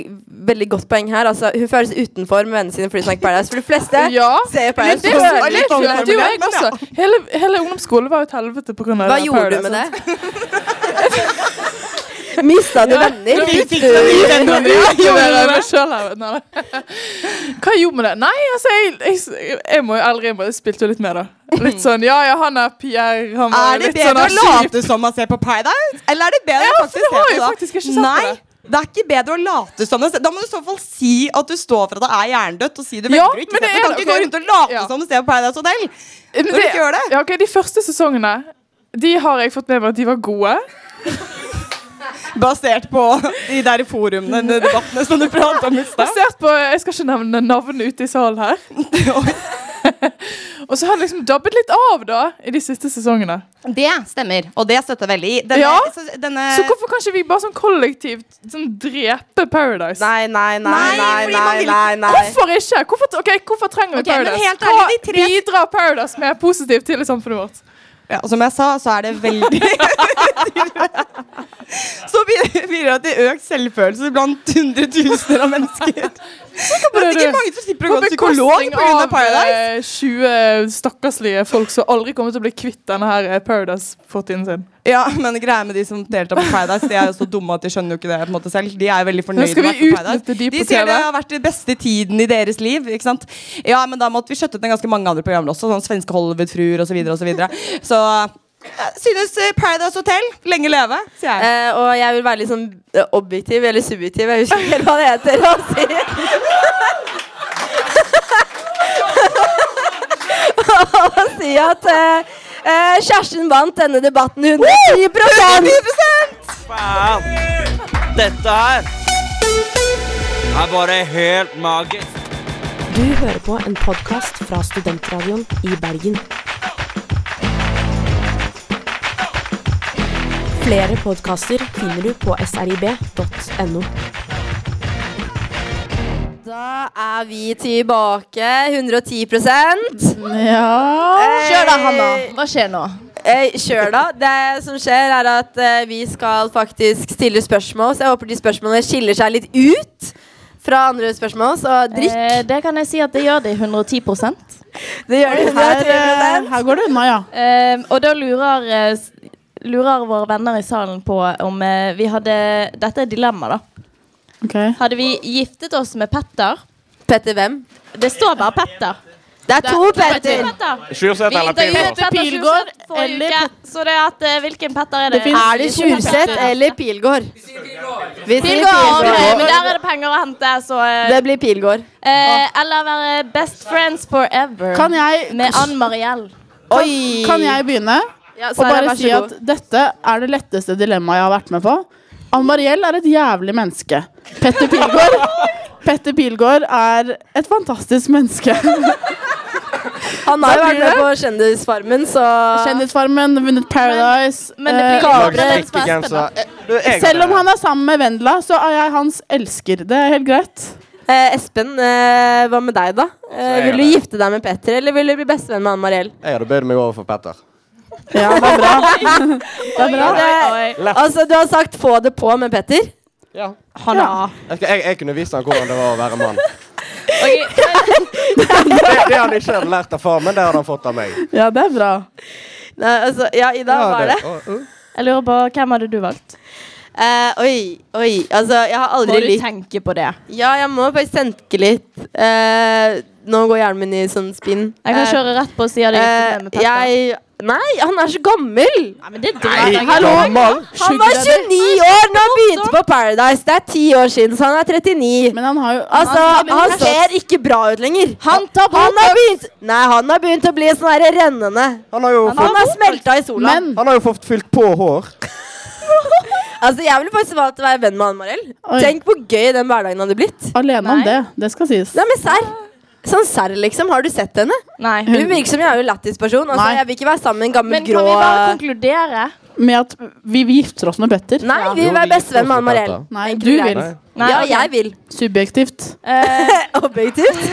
[SPEAKER 1] veldig godt poeng her. Altså, hun føles utenfor med vennene sine fordi hun snakker Paradise. For de fleste
[SPEAKER 6] Ja.
[SPEAKER 1] ser Paradise.
[SPEAKER 6] Det
[SPEAKER 1] på
[SPEAKER 10] var
[SPEAKER 1] skolen.
[SPEAKER 6] følte
[SPEAKER 10] litt
[SPEAKER 6] følte jo jeg
[SPEAKER 10] overformulert,
[SPEAKER 6] også. Hele, hele ungdomsskolen var jo et helvete pga.
[SPEAKER 1] Hva gjorde du med det? Mista du venner? Fikk du
[SPEAKER 6] Hva gjorde med det? Nei, altså jeg, jeg, jeg må jo aldri innrømme Jeg spilte jo litt med, da. Litt sånn ja ja, han er Pierre. Han var
[SPEAKER 10] Er det
[SPEAKER 6] litt sånn
[SPEAKER 10] bedre å
[SPEAKER 6] kjip.
[SPEAKER 10] late som man ser på Paradise, eller er det bedre
[SPEAKER 6] Ja,
[SPEAKER 10] å
[SPEAKER 6] for det
[SPEAKER 10] faktisk
[SPEAKER 6] har
[SPEAKER 10] se
[SPEAKER 6] jeg
[SPEAKER 10] på
[SPEAKER 6] faktisk ikke sett på
[SPEAKER 10] Nei,
[SPEAKER 6] det.
[SPEAKER 10] det er ikke bedre å late som det. Da må du i så fall si at du står for at det er hjernedødt, og si du velger
[SPEAKER 6] Ja,
[SPEAKER 10] å ikke
[SPEAKER 6] men
[SPEAKER 10] se
[SPEAKER 6] det
[SPEAKER 10] på. Du
[SPEAKER 6] er
[SPEAKER 10] kan
[SPEAKER 6] det,
[SPEAKER 10] ikke gå
[SPEAKER 6] ok.
[SPEAKER 10] rundt og late
[SPEAKER 6] Ja.
[SPEAKER 10] som du ser på Paradise Hotel.
[SPEAKER 6] Men
[SPEAKER 10] Når du ikke gjør det.
[SPEAKER 6] Ja, ok, De første sesongene De har jeg fått med meg at de var gode.
[SPEAKER 10] Basert på de der forumene, de debattene som du pratet om i stad.
[SPEAKER 6] Basert på Jeg skal ikke nevne navn ute i salen her. Og så har det liksom dabbet litt av da i de siste sesongene.
[SPEAKER 10] Det stemmer, og det støtter jeg veldig i. Denne,
[SPEAKER 6] Ja.
[SPEAKER 10] så- denne
[SPEAKER 6] Så hvorfor kan ikke vi bare sånn kollektivt sånn drepe Paradise?
[SPEAKER 1] Nei, nei, nei, nei,
[SPEAKER 10] Nei, fordi man
[SPEAKER 1] nei,
[SPEAKER 10] vil-
[SPEAKER 1] nei, nei.
[SPEAKER 6] Hvorfor ikke? Hvorfor, ok, hvorfor trenger vi
[SPEAKER 10] Ok, men
[SPEAKER 6] Paradise?
[SPEAKER 10] helt ærlig, de
[SPEAKER 6] Hva
[SPEAKER 10] tre-
[SPEAKER 6] bidrar Paradise med positivt til i samfunnet vårt?
[SPEAKER 10] ja, Som jeg sa, så er det veldig Så bi- bidrar det til økt selvfølelse blant hundretusener av mennesker. Det er sikkert mange som slipper å gå til psykolog pga. Paradise.
[SPEAKER 6] eh, 20 stakkarslige folk som aldri kommer til å bli kvitt denne her eh, Paradise-fortiden sin.
[SPEAKER 10] Ja, Men greia med de som deltar på Paradise, de er jo så dumme at de skjønner jo ikke det på en måte selv. De er veldig fornøyd
[SPEAKER 6] Nå skal
[SPEAKER 10] med å
[SPEAKER 6] vi
[SPEAKER 10] være på Paradise.
[SPEAKER 6] utnytte de på
[SPEAKER 10] De sier
[SPEAKER 6] TV.
[SPEAKER 10] det har vært den beste tiden i deres liv. Ikke sant? Ja, men da måtte vi skjøtte ut en ganske mange andre programmer også, sånn svenske Hollywood-fruer osv. Så, videre, og så, videre. så eh, synes eh, Paradise Hotel lenge leve, sier jeg.
[SPEAKER 1] Eh, og jeg vil være litt sånn eh, objektiv eller subjektiv. Jeg husker ikke helt hva det heter. Å si. å si at eh, eh, Kjerstin vant denne debatten 110
[SPEAKER 11] Faen! Dette her er bare helt magisk.
[SPEAKER 8] Du hører på en podkast fra Studentradioen i Bergen. Flere podkaster finner du på srib.no.
[SPEAKER 1] Da er vi tilbake. 110
[SPEAKER 6] Ja
[SPEAKER 1] Kjør da, Hanna.
[SPEAKER 2] Hva skjer nå?
[SPEAKER 1] Eh, Kjør da. Det som skjer, er at eh, vi skal faktisk stille spørsmål, så jeg håper de spørsmålene skiller seg litt ut fra andre spørsmål. Så drikk.
[SPEAKER 2] Eh, det kan jeg si at det gjør det i 110
[SPEAKER 1] Det gjør det
[SPEAKER 6] Her, eh, her går det unna, ja.
[SPEAKER 2] Eh, og da lurer, eh, s- lurer våre venner i salen på om eh, vi hadde Dette er dilemma, da.
[SPEAKER 6] Ok.
[SPEAKER 2] Hadde vi giftet oss med Petter
[SPEAKER 1] Petter hvem?
[SPEAKER 2] Det står bare Petter.
[SPEAKER 1] Det er to Petter.
[SPEAKER 7] Sjurseth eller Pilgaard?
[SPEAKER 2] Petter Pilgaard eller Så det er at, eh, hvilken Petter er det?
[SPEAKER 1] Er det Tjurseth eller Pilgård? Vi sier
[SPEAKER 2] Pilgaard! ok, Men
[SPEAKER 1] Pilgård.
[SPEAKER 2] der er det penger å hente, så eh,
[SPEAKER 1] Det blir Pilgård.
[SPEAKER 2] eh, Eller være best friends forever
[SPEAKER 6] Kan jeg-
[SPEAKER 2] med Ann Mariell.
[SPEAKER 1] Oi!
[SPEAKER 6] Kan jeg begynne?
[SPEAKER 1] Ja,
[SPEAKER 6] og
[SPEAKER 1] Sara,
[SPEAKER 6] bare
[SPEAKER 1] vær så
[SPEAKER 6] si
[SPEAKER 1] god.
[SPEAKER 6] at dette er det letteste dilemmaet jeg har vært med på. Ann Mariell er et jævlig menneske. Petter Pilgaard Petter Pilgaard er et fantastisk menneske.
[SPEAKER 1] Han har jo vært
[SPEAKER 6] Da blir
[SPEAKER 1] med
[SPEAKER 6] det-
[SPEAKER 1] på Kjendisfarmen, så
[SPEAKER 6] Kjendisfarmen, vunnet Paradise.
[SPEAKER 2] Men det blir
[SPEAKER 6] eh,
[SPEAKER 12] Strikkegenser.
[SPEAKER 6] selv om han er sammen med Vendela, så er jeg hans elsker. Det er helt greit.
[SPEAKER 1] Eh, Espen, eh, hva med deg, da? Eh,
[SPEAKER 12] jeg
[SPEAKER 1] vil du
[SPEAKER 12] det.
[SPEAKER 1] gifte deg med Petter, eller vil du bli bestevenn med Ann Mariell?
[SPEAKER 12] Jeg hadde bøyd meg over for Petter.
[SPEAKER 6] Ja, det er bra.
[SPEAKER 1] Det er bra. Det, altså, du har sagt 'få det på' med Petter.
[SPEAKER 12] Ja.
[SPEAKER 1] Han
[SPEAKER 6] Ja.
[SPEAKER 12] Jeg, skal, jeg, jeg kunne vist ham hvordan det var å være mann.
[SPEAKER 2] Ok,
[SPEAKER 12] Det, det han ikke hadde lært av far, men det hadde han fått av meg.
[SPEAKER 6] Ja, det er bra.
[SPEAKER 1] Nei, altså, ja, Ida,
[SPEAKER 12] Ja,
[SPEAKER 1] hva er det?
[SPEAKER 12] å, å.
[SPEAKER 2] Jeg lurer på, hvem hadde du valgt?
[SPEAKER 1] Eh, oi, oi. Altså, jeg har
[SPEAKER 2] Må
[SPEAKER 1] aldri
[SPEAKER 2] du
[SPEAKER 1] likt
[SPEAKER 2] tenke på det?
[SPEAKER 1] Ja, jeg må faktisk tenke litt. Eh, nå går hjernen min i sånn spinn.
[SPEAKER 2] Jeg kan
[SPEAKER 1] Eh,
[SPEAKER 2] kjøre rett på og si at jeg gifter meg
[SPEAKER 1] eh,
[SPEAKER 2] med Petter.
[SPEAKER 1] jeg Nei, han er så gammel!
[SPEAKER 2] Nei, men det
[SPEAKER 12] Nei,
[SPEAKER 2] driter jeg i.
[SPEAKER 1] hallo.
[SPEAKER 12] gammel!
[SPEAKER 1] Han var 29 år da han begynte på Paradise. Det er ti år siden, så han er 39.
[SPEAKER 6] Men han har jo
[SPEAKER 1] Altså, Han ser ikke bra ut lenger. Han tar han har begynt, Nei, han har begynt å bli sånn her rennende.
[SPEAKER 12] Han har jo fått,
[SPEAKER 1] Han har smelta i sola.
[SPEAKER 6] Men
[SPEAKER 12] han har jo fått fylt på hår.
[SPEAKER 1] Altså, Jeg ville faktisk valgt å være venn med Anne Mariell.
[SPEAKER 6] Oi.
[SPEAKER 1] Tenk hvor gøy den hverdagen hadde blitt.
[SPEAKER 6] alene
[SPEAKER 2] Nei.
[SPEAKER 6] om det. Det skal sies.
[SPEAKER 1] Nei, men serr. Sånn serr, liksom. Har du sett henne?
[SPEAKER 2] Nei.
[SPEAKER 1] Hun virker som en jævlig lættis person. Altså,
[SPEAKER 6] Nei.
[SPEAKER 1] jeg vil ikke være sammen med en gammel
[SPEAKER 2] Men
[SPEAKER 1] grå
[SPEAKER 2] kan vi bare konkludere?
[SPEAKER 6] Med at vi vi gifter oss med Petter.
[SPEAKER 1] Nei, vi vil være bestevenn med Anne Mariell.
[SPEAKER 6] Nei, du vil.
[SPEAKER 12] Nei.
[SPEAKER 2] Nei,
[SPEAKER 1] Ja,
[SPEAKER 2] ok.
[SPEAKER 1] jeg vil.
[SPEAKER 6] Subjektivt.
[SPEAKER 2] Eh,
[SPEAKER 1] Objektivt.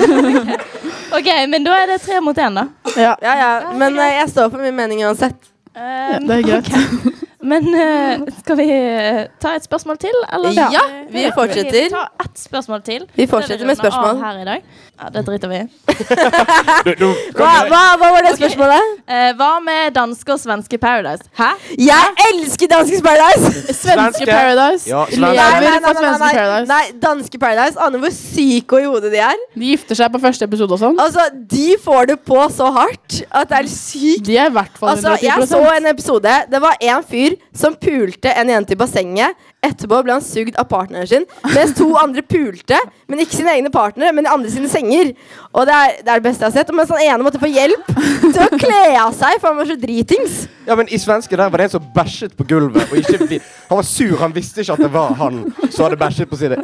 [SPEAKER 2] OK, men da er det tre mot én, da.
[SPEAKER 6] Ja,
[SPEAKER 1] Ja, ja. Men eh, jeg står for min mening uansett.
[SPEAKER 2] Eh,
[SPEAKER 6] det er greit.
[SPEAKER 2] Men eh, skal vi eh, ta et spørsmål til, eller?
[SPEAKER 1] Ja, vi fortsetter.
[SPEAKER 2] Ta ett spørsmål til.
[SPEAKER 1] Vi fortsetter med
[SPEAKER 2] Så vil vi runde av
[SPEAKER 1] spørsmål.
[SPEAKER 2] Her i dag. Ja, det driter vi i.
[SPEAKER 1] Hva, hva, hva var det spørsmålet?
[SPEAKER 2] Eh, hva med danske og svenske Paradise? Hæ?
[SPEAKER 1] Jeg elsker Danske Paradise!
[SPEAKER 6] Svenske Paradise.
[SPEAKER 12] Ja, svenske.
[SPEAKER 6] Lever for svenske Paradise.
[SPEAKER 1] nei, Danske Paradise. Aner hvor syke og i hodet de er.
[SPEAKER 6] De gifter seg på første episode og sånn.
[SPEAKER 1] Altså, De får det på så hardt at det er sykt.
[SPEAKER 6] De er i hvert fall
[SPEAKER 1] Altså,
[SPEAKER 6] 110
[SPEAKER 1] Jeg så en episode. Det var en fyr som pulte en jente i bassenget. Etterpå ble han sugd av partneren sin, mens to andre pulte. Men ikke sine egne partnere, men de andre sine senger. Og det er det, er det beste jeg har sett. Og mens han ene måtte få hjelp til å kle av seg, for han var så dritings.
[SPEAKER 12] Ja, men I svenske der var det en som bæsjet på gulvet. Og ikke vi. Han var sur, han visste ikke at det var han som hadde bæsjet på sine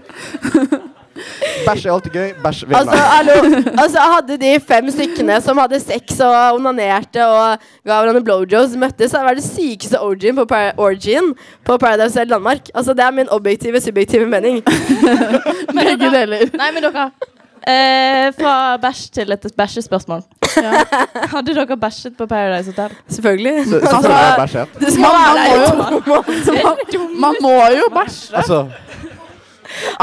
[SPEAKER 12] Bæsj er alltid gøy. Bæsj vil
[SPEAKER 1] Altså,
[SPEAKER 12] meg.
[SPEAKER 1] hallo, altså hadde de fem stykkene som hadde sex og onanerte og ga hverandre blowjobs, møttes, hadde det vært det sykeste orgien på, par orgien på Paradise Hotel Danmark. Altså, det er min objektive, subjektive mening.
[SPEAKER 6] Begge deler.
[SPEAKER 2] Nei, men dere. Eh, fra bæsj til et bæsjespørsmål.
[SPEAKER 6] Ja.
[SPEAKER 2] Hadde dere bæsjet på Paradise Hotel?
[SPEAKER 1] Selvfølgelig.
[SPEAKER 12] Så, så, så Sånn er det bæsjet.
[SPEAKER 1] Det skal
[SPEAKER 6] Man, man,
[SPEAKER 1] være
[SPEAKER 6] må
[SPEAKER 1] der i
[SPEAKER 6] jo,
[SPEAKER 1] to måneder.
[SPEAKER 6] man må jo bæsje.
[SPEAKER 12] Altså,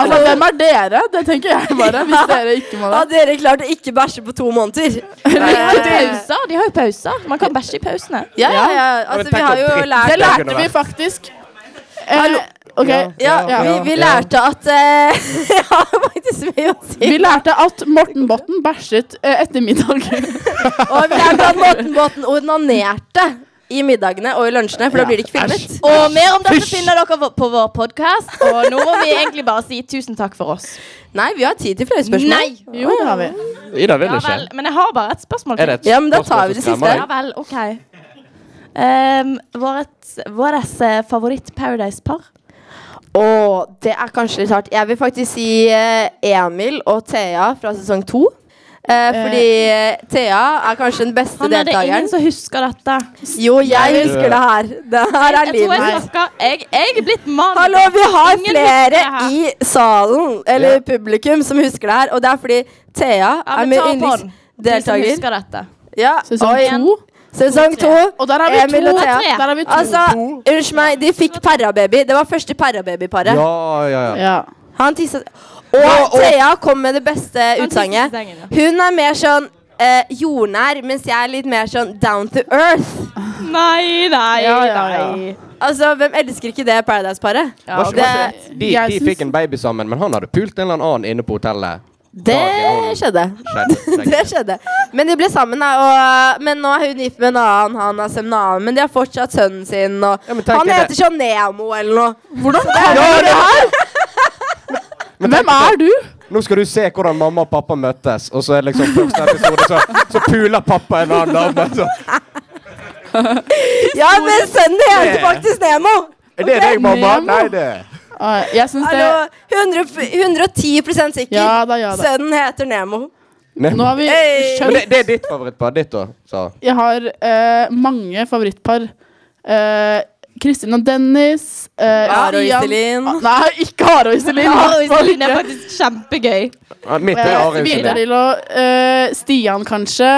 [SPEAKER 6] Altså, hvem er dere? Det tenker jeg bare. Hvis dere ikke må det.
[SPEAKER 1] Hadde dere klart å ikke bæsje på to måneder? Eh,
[SPEAKER 2] Pauser? De har jo pauser. Man kan bæsje i pausene.
[SPEAKER 1] Ja, ja, ja. Altså, vi har jo lært
[SPEAKER 6] Det
[SPEAKER 12] Det kunne
[SPEAKER 6] lærte vi
[SPEAKER 12] vært.
[SPEAKER 6] faktisk. Eh, ok.
[SPEAKER 1] ja, vi, vi lærte at eh, Jeg har faktisk mye å si.
[SPEAKER 6] Vi lærte at Morten Botten bæsjet eh, etter middag.
[SPEAKER 1] Og vi lærte at Morten Botten onanerte i middagene og i lunsjene, for da blir det ikke filmet.
[SPEAKER 2] Og mer om dette finner dere vå- på vår podkast. Og nå må vi egentlig bare si tusen takk for oss.
[SPEAKER 1] Nei, vi har tid til flere spørsmål.
[SPEAKER 6] Jo, det har vi.
[SPEAKER 7] Ida vil
[SPEAKER 2] Ja
[SPEAKER 7] ikke.
[SPEAKER 2] vel. Men jeg har bare et spørsmål
[SPEAKER 7] Er det
[SPEAKER 2] til.
[SPEAKER 7] et
[SPEAKER 1] Ja, men da
[SPEAKER 7] spørsmål
[SPEAKER 1] tar vi det
[SPEAKER 7] som
[SPEAKER 1] siste.
[SPEAKER 7] skremmer
[SPEAKER 2] Ja
[SPEAKER 7] deg?
[SPEAKER 2] vel, OK. Um, Vårt våres, eh, favoritt-Paradise-par?
[SPEAKER 1] Og det er kanskje litt hardt. Jeg vil faktisk si eh, Emil og Thea fra sesong to. Eh, Eh, fordi Thea er kanskje den beste
[SPEAKER 2] Han er det
[SPEAKER 1] deltakeren.
[SPEAKER 2] ingen som husker dette.
[SPEAKER 1] Jo, jeg husker det her. Det her er
[SPEAKER 2] Jeg tror jeg
[SPEAKER 1] livet.
[SPEAKER 2] snakker Jeg, jeg er blitt mann.
[SPEAKER 1] Hallo, vi har
[SPEAKER 2] Ingen
[SPEAKER 1] flere
[SPEAKER 2] husker det her.
[SPEAKER 1] i salen, eller publikum, som husker det her. Og det er fordi Thea
[SPEAKER 2] Ja,
[SPEAKER 1] er
[SPEAKER 2] men
[SPEAKER 1] min
[SPEAKER 2] ta på den. De som
[SPEAKER 1] yndlingsdeltaker.
[SPEAKER 2] husker dette.
[SPEAKER 1] Ja,
[SPEAKER 2] Sesong
[SPEAKER 1] oi.
[SPEAKER 2] to.
[SPEAKER 1] Sesong
[SPEAKER 2] To,
[SPEAKER 1] to.
[SPEAKER 2] tre. Og der er vi
[SPEAKER 1] Emil
[SPEAKER 2] to.
[SPEAKER 1] og
[SPEAKER 2] Det
[SPEAKER 1] Thea.
[SPEAKER 2] er tre. Der er vi to.
[SPEAKER 1] Altså, unnskyld meg, de fikk Perrababy. Det var første Perrababy-paret.
[SPEAKER 12] Ja, ja, ja.
[SPEAKER 1] Han tisset Og Thea kom med det beste utsagnet. Hun er mer sånn eh, jordnær, mens jeg er litt mer sånn down to earth.
[SPEAKER 2] Nei, nei,
[SPEAKER 1] Ja, ja, ja.
[SPEAKER 2] nei.
[SPEAKER 1] Altså, Hvem elsker ikke det Paradise-paret?
[SPEAKER 12] Var ikke- var ikke- De, de fikk en baby sammen, men han hadde pult en eller annen inne på hotellet.
[SPEAKER 1] det skjedde.
[SPEAKER 12] Skjedde.
[SPEAKER 1] Det skjedde. Men de ble sammen, da. Og, eh, men nå er hun gift med en annen, han har en annen. Men de har fortsatt sønnen sin. Og
[SPEAKER 12] tenk
[SPEAKER 1] han
[SPEAKER 12] deg
[SPEAKER 1] heter
[SPEAKER 12] det.
[SPEAKER 1] sånn Nemo eller noe.
[SPEAKER 6] Hvordan
[SPEAKER 1] kan du det her?
[SPEAKER 12] Hvem er du? Nå skal du se hvordan mamma og pappa møttes, og så er det liksom første episode, så, så puler pappa en annen dame. Så.
[SPEAKER 1] Ja, men sønnen heter faktisk Nemo.
[SPEAKER 12] Er det deg, mamma? Nei, det
[SPEAKER 6] Jeg syns det
[SPEAKER 1] Hallo, 100, f- 110 sikker.
[SPEAKER 6] Ja da, ja da.
[SPEAKER 1] Sønnen heter Nemo.
[SPEAKER 12] Nei.
[SPEAKER 6] Nå har vi
[SPEAKER 1] Hey.
[SPEAKER 12] Men
[SPEAKER 6] skjønt
[SPEAKER 12] det, Eh, det er ditt favorittpar. Ditt, da. Så.
[SPEAKER 6] Jeg har eh, mange favorittpar. Eh, Kristin og Dennis. eh,
[SPEAKER 1] Are og
[SPEAKER 6] Stian-
[SPEAKER 1] Iselin.
[SPEAKER 6] Ah, Nei, ikke Are og Iselin. Eh,
[SPEAKER 2] Are og Iselin er
[SPEAKER 6] faktisk kjempegøy.
[SPEAKER 12] Ja, Mitt er Are Iselin.
[SPEAKER 6] eh, Stian, kanskje.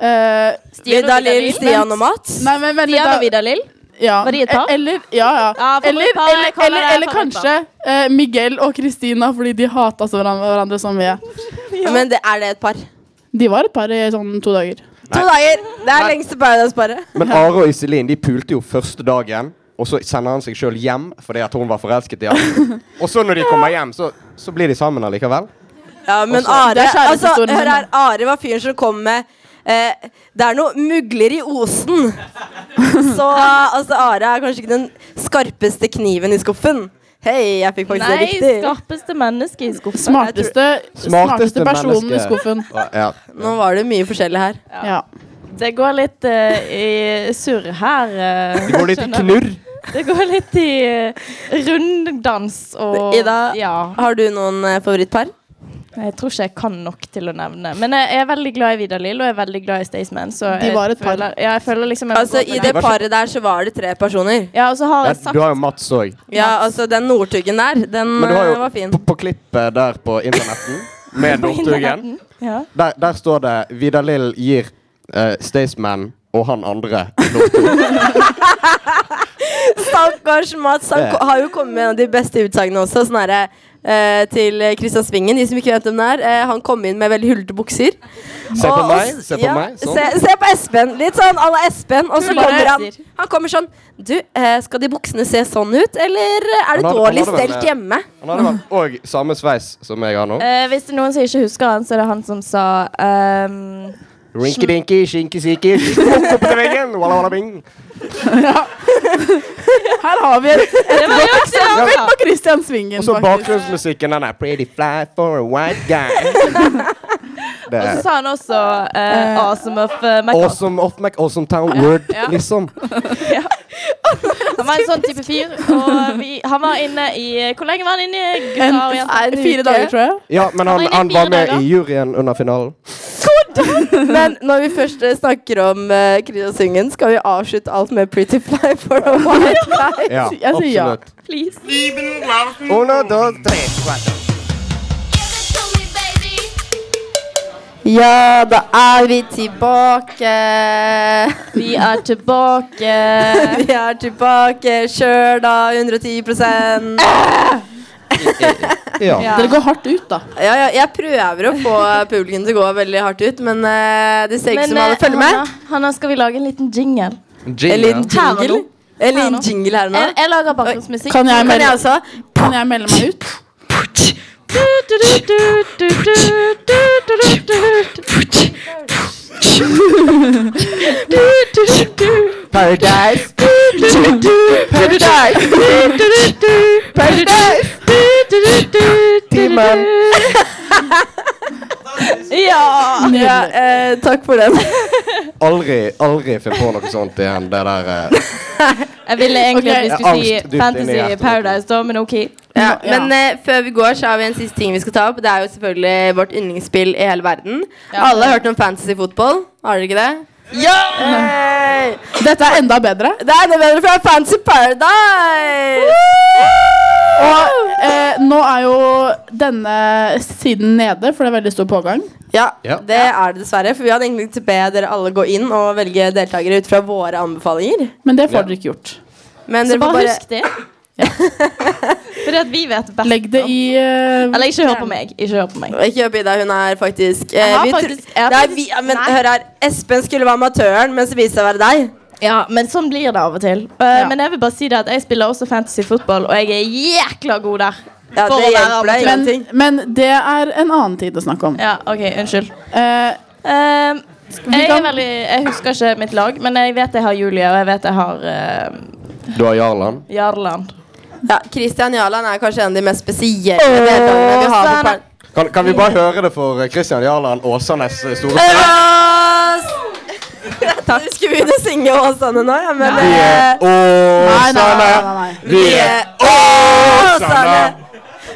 [SPEAKER 6] Eh,
[SPEAKER 1] Stian og Vidar Lill, Stian og Mats?
[SPEAKER 6] Nei, men, men,
[SPEAKER 2] Stian
[SPEAKER 6] da-
[SPEAKER 2] og Vidar Lill?
[SPEAKER 6] Ja.
[SPEAKER 2] Var de et par?
[SPEAKER 6] E- Eller, ja, ja.
[SPEAKER 2] Ja, favorittpar,
[SPEAKER 6] eller,
[SPEAKER 2] jeg
[SPEAKER 6] eller,
[SPEAKER 2] kaller
[SPEAKER 6] eller,
[SPEAKER 2] det
[SPEAKER 6] eller
[SPEAKER 2] favorittpar.
[SPEAKER 6] kanskje eh, Miguel og Kristina, fordi de hata så hverandre, hverandre så mye.
[SPEAKER 1] Men det, er det et par?
[SPEAKER 6] De var et par i sånn to dager.
[SPEAKER 1] To dager! Det er lengste Paradise-paret.
[SPEAKER 12] Men Are og Iselin de pulte jo første dagen, og så sender han seg sjøl hjem fordi at hun var forelsket i ham. Og så når de kommer hjem, så, så blir de sammen allikevel.
[SPEAKER 1] Ja, men
[SPEAKER 12] Og så-
[SPEAKER 1] Are
[SPEAKER 12] Det er
[SPEAKER 1] altså,
[SPEAKER 12] kjærlighetshistorien
[SPEAKER 1] hør her,
[SPEAKER 12] min,
[SPEAKER 1] Are var fyren som kom med eh, Det er noe mugler i osen. Så altså, Are er kanskje ikke den skarpeste kniven i skuffen. Hei, jeg fikk faktisk det
[SPEAKER 2] Nei,
[SPEAKER 1] riktig.
[SPEAKER 2] skarpeste menneske i skuffen.
[SPEAKER 1] Smarteste-
[SPEAKER 6] Smarteste personen i skuffen.
[SPEAKER 12] Ja.
[SPEAKER 1] Nå var det mye forskjellig her.
[SPEAKER 6] Ja.
[SPEAKER 2] Det går litt eh, i surr her. eh,
[SPEAKER 12] Det går litt i
[SPEAKER 2] skjønner
[SPEAKER 12] knurr.
[SPEAKER 2] du. Det går litt i eh, runddans og
[SPEAKER 1] Ida,
[SPEAKER 2] ja.
[SPEAKER 1] har du noen eh, favorittpar?
[SPEAKER 2] Jeg tror ikke jeg kan nok til å nevne. Men jeg er veldig glad i Vidar Lill, og jeg er veldig glad i Staysman. Så
[SPEAKER 1] De
[SPEAKER 2] jeg
[SPEAKER 1] var et par.
[SPEAKER 2] Føler, ja, jeg føler liksom jeg må
[SPEAKER 1] Altså,
[SPEAKER 2] gå på
[SPEAKER 1] I
[SPEAKER 2] den.
[SPEAKER 1] det paret der så var det tre personer.
[SPEAKER 2] Ja, og så har
[SPEAKER 12] Ja,
[SPEAKER 2] jeg sagt
[SPEAKER 12] du har jo Mats òg.
[SPEAKER 1] Ja, altså den Northuggen der, den
[SPEAKER 12] Men du har
[SPEAKER 1] eh,
[SPEAKER 12] jo
[SPEAKER 1] var fin.
[SPEAKER 12] på, på klippet der på internetten med Northugen
[SPEAKER 2] Ja.
[SPEAKER 12] der, der står det Vidar Lill gir eh, Staysman og han andre Northug.
[SPEAKER 1] Stakkars Mats. Han
[SPEAKER 12] Det-
[SPEAKER 1] ko- har jo kommet med en av de beste utsagnene også. Sånn herre eh, til Kristian Svingen, de som ikke vet hvem det er. Eh, han kom inn med veldig hullete bukser.
[SPEAKER 12] Se på
[SPEAKER 1] Og-
[SPEAKER 12] meg,
[SPEAKER 1] og s-
[SPEAKER 12] se på
[SPEAKER 1] ja,
[SPEAKER 12] meg, sånn.
[SPEAKER 1] Se, se på Espen. Litt sånn à la Espen. Og så
[SPEAKER 2] Hullete
[SPEAKER 1] kommer han
[SPEAKER 2] bukser.
[SPEAKER 1] Han kommer sånn Du, eh, skal de buksene se sånn ut, eller er det
[SPEAKER 12] Han hadde- han
[SPEAKER 1] dårlig
[SPEAKER 12] hadde vel,
[SPEAKER 1] stelt
[SPEAKER 12] eh,
[SPEAKER 1] hjemme?
[SPEAKER 12] Han hadde vel òg samme sveis som jeg har nå.
[SPEAKER 2] Eh, hvis det er noen som ikke husker han, så er det han som sa ehm,
[SPEAKER 12] Rinky-dinky, shinky-sinky, opp opp til veggen, walla-walla-bing.
[SPEAKER 6] Her har vi et, et godt
[SPEAKER 2] var jo ikke det han
[SPEAKER 6] eksempel
[SPEAKER 2] sa.
[SPEAKER 6] på Christian Svingen.
[SPEAKER 12] Og så
[SPEAKER 6] faktisk.
[SPEAKER 12] bakgrunnsmusikken, den er Pretty fly for a white guy. Det
[SPEAKER 2] Og så
[SPEAKER 12] er
[SPEAKER 2] sa han også eh, Awesome of uh, McCartney.
[SPEAKER 12] Awesome off Mac, awesome town, word, liksom.
[SPEAKER 2] Han var en sånn type fyr. Og vi, han var inne i Hvor lenge var han inne? i Gutta og jenter?
[SPEAKER 6] Fire dager, tror jeg.
[SPEAKER 12] Ja, men han,
[SPEAKER 2] Han er
[SPEAKER 12] han
[SPEAKER 2] fire
[SPEAKER 12] var med
[SPEAKER 2] dager.
[SPEAKER 12] i juryen under finalen.
[SPEAKER 1] Men når vi først eh, snakker om eh, Kristian Svingen, skal vi avslutte alt med Pretty Fly for a white guy?
[SPEAKER 12] Ja,
[SPEAKER 6] Jeg sier ja.
[SPEAKER 12] absolutt.
[SPEAKER 2] Please.
[SPEAKER 12] Uno, dos, tres, cuatro.
[SPEAKER 1] Ja, da er vi tilbake.
[SPEAKER 2] Vi er tilbake.
[SPEAKER 1] Vi er tilbake. Kjør, da. 110
[SPEAKER 12] Ja.
[SPEAKER 6] Dere går hardt ut, da.
[SPEAKER 1] Ja, ja, Jeg prøver å få publikum til å gå veldig hardt ut, men eh, det ser ikke ut som alle
[SPEAKER 2] eh,
[SPEAKER 1] følger med.
[SPEAKER 2] Hanna, Hanna, skal vi lage en liten jingle?
[SPEAKER 1] En liten
[SPEAKER 2] Her og nå.
[SPEAKER 1] jingle. En
[SPEAKER 2] Her og
[SPEAKER 1] liten
[SPEAKER 2] nå.
[SPEAKER 1] jingle her Eh, nå.
[SPEAKER 2] Jeg, jeg lager bakgrunnsmusikk.
[SPEAKER 6] Kan jeg
[SPEAKER 1] Kan
[SPEAKER 6] melde,
[SPEAKER 1] jeg også?
[SPEAKER 6] kan jeg melde meg ut?
[SPEAKER 2] Du, du, du, du, du, du, du, du, du, du, du. Du, du, du, du.
[SPEAKER 12] Paradise. Paradise.
[SPEAKER 2] Du, du, du.
[SPEAKER 12] Paradise.
[SPEAKER 2] Du, du, du, du, du, du,
[SPEAKER 12] Timon.
[SPEAKER 2] du. Ja!
[SPEAKER 1] Ja, eh, takk for den.
[SPEAKER 12] Aldri, aldri finn på noe sånt igjen. Det der eh,
[SPEAKER 2] Jeg ville egentlig at vi
[SPEAKER 1] Ok.
[SPEAKER 2] skulle
[SPEAKER 1] Angst dypt
[SPEAKER 2] si
[SPEAKER 1] inn i
[SPEAKER 2] Fantasy
[SPEAKER 1] hjertet.
[SPEAKER 2] Paradise, da, men OK.
[SPEAKER 1] Ja, men eh, før vi går, så har vi en siste ting vi skal ta opp. Det er jo selvfølgelig vårt yndlingsspill i hele verden.
[SPEAKER 6] Ja.
[SPEAKER 1] Alle har hørt om fantasy fotball. Har dere ikke det? Ja!
[SPEAKER 6] Dette er enda bedre.
[SPEAKER 1] Det er enda bedre fra Fancy Paradise!
[SPEAKER 6] Og eh, nå er jo denne siden nede, for det er veldig stor pågang.
[SPEAKER 1] Ja,
[SPEAKER 6] Ja.
[SPEAKER 1] det er det dessverre. For vi hadde egentlig til å be dere alle gå inn og velge deltakere ut fra våre anbefalinger.
[SPEAKER 6] Men det får dere ikke gjort.
[SPEAKER 1] Men
[SPEAKER 2] Så
[SPEAKER 1] dere får
[SPEAKER 2] bare
[SPEAKER 1] bare
[SPEAKER 2] husk det. Fordi at vi vet best.
[SPEAKER 6] Legg det i Eller
[SPEAKER 2] ikke hør på meg. Ikke hør på meg.
[SPEAKER 1] Ikke hør på Ida, hun er faktisk, eh,
[SPEAKER 2] Jeg har
[SPEAKER 1] vi tro-
[SPEAKER 2] faktisk- jeg har
[SPEAKER 1] det er
[SPEAKER 2] faktisk-
[SPEAKER 1] vi, ja, Men
[SPEAKER 2] Nei.
[SPEAKER 1] hør her, Espen skulle være amatøren, men så viste det seg å være deg.
[SPEAKER 2] Ja, men sånn blir det av og til. Eh, Men jeg vil bare si det at jeg spiller også fantasy fotball, og jeg er jækla god der.
[SPEAKER 1] Ja,
[SPEAKER 2] For å være amatør.
[SPEAKER 6] men, eh, men det er en annen tid å snakke om.
[SPEAKER 2] Ja, ok, unnskyld.
[SPEAKER 6] Eh,
[SPEAKER 2] Ehm,
[SPEAKER 6] vi
[SPEAKER 2] jeg, er
[SPEAKER 6] kan-
[SPEAKER 2] veldig, jeg husker ikke mitt lag, men jeg vet jeg har Julie, og jeg vet jeg har eh,
[SPEAKER 12] Du har Jarland.
[SPEAKER 2] Jarland.
[SPEAKER 1] Ja, Christian Jarland er kanskje en av de mest spesielle deltakerne vi har. på par-
[SPEAKER 12] Kan, kan vi bare høre det for eh, Christian Jarland Åsanes eh, store
[SPEAKER 1] Ås! Jeg trodde vi skulle begynne å synge Åsane nå, ja, men eh,
[SPEAKER 12] Vi er Åsane! Vi er Åsane!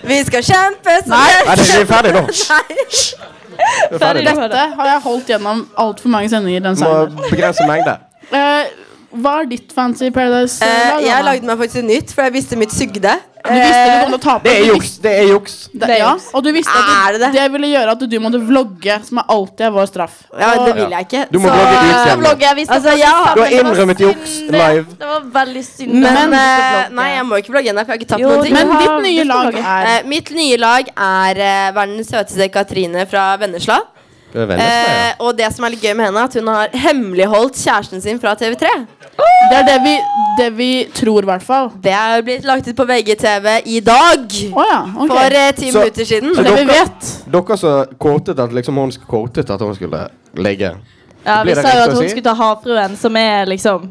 [SPEAKER 1] Vi skal kjempe som
[SPEAKER 6] Nei.
[SPEAKER 1] best.
[SPEAKER 6] Nei, det- vi er ferdig nå.
[SPEAKER 1] Nei.
[SPEAKER 12] er ferdig nå.
[SPEAKER 6] Dette har jeg holdt gjennom altfor mange sendinger. Den
[SPEAKER 12] Må
[SPEAKER 6] sangen.
[SPEAKER 12] begrense mengde.
[SPEAKER 6] Eh, hva er ditt fancy Paradise?
[SPEAKER 1] Eh,
[SPEAKER 6] lag,
[SPEAKER 1] jeg
[SPEAKER 6] Anna?
[SPEAKER 1] lagde meg faktisk et nytt, for jeg visste mitt sugde.
[SPEAKER 6] Du visste du kom til å tape.
[SPEAKER 12] Det er juks. Det er juks.
[SPEAKER 6] Det, ja, og du visste at det, det ville gjøre at du måtte vlogge, som er alltid er vår straff.
[SPEAKER 1] Ja, det vil jeg ikke.
[SPEAKER 12] Du må vlogge ut igjen.
[SPEAKER 1] Altså, ja.
[SPEAKER 12] Du har innrømmet juks live.
[SPEAKER 2] Det var veldig synd.
[SPEAKER 1] Men, eh, nei, jeg må ikke blogge ennå, for jeg har ikke tapt
[SPEAKER 6] Jo,
[SPEAKER 1] noen ting.
[SPEAKER 6] men ditt Ja, nye du skal lag blogge. er-
[SPEAKER 1] Eh, Mitt nye lag er eh, verdens søteste Katrine fra Vennesla.
[SPEAKER 12] Du er venner.
[SPEAKER 1] Eh, og det som er litt gøy med henne, er at hun har hemmeligholdt kjæresten sin fra TV3.
[SPEAKER 6] Det er det vi, det vi tror, i hvert fall.
[SPEAKER 1] Det er blitt lagt ut på VGTV i dag!
[SPEAKER 6] ok.
[SPEAKER 1] For eh, ti
[SPEAKER 12] Så-
[SPEAKER 1] minutter siden.
[SPEAKER 12] så dere, dere som kåtet at liksom hun sk- kåtet at hun skulle ligge
[SPEAKER 2] Ja, vi
[SPEAKER 12] Blir det
[SPEAKER 2] sa jo
[SPEAKER 12] riktig
[SPEAKER 2] at
[SPEAKER 12] å si?
[SPEAKER 2] hun skulle ta havfruen, som er liksom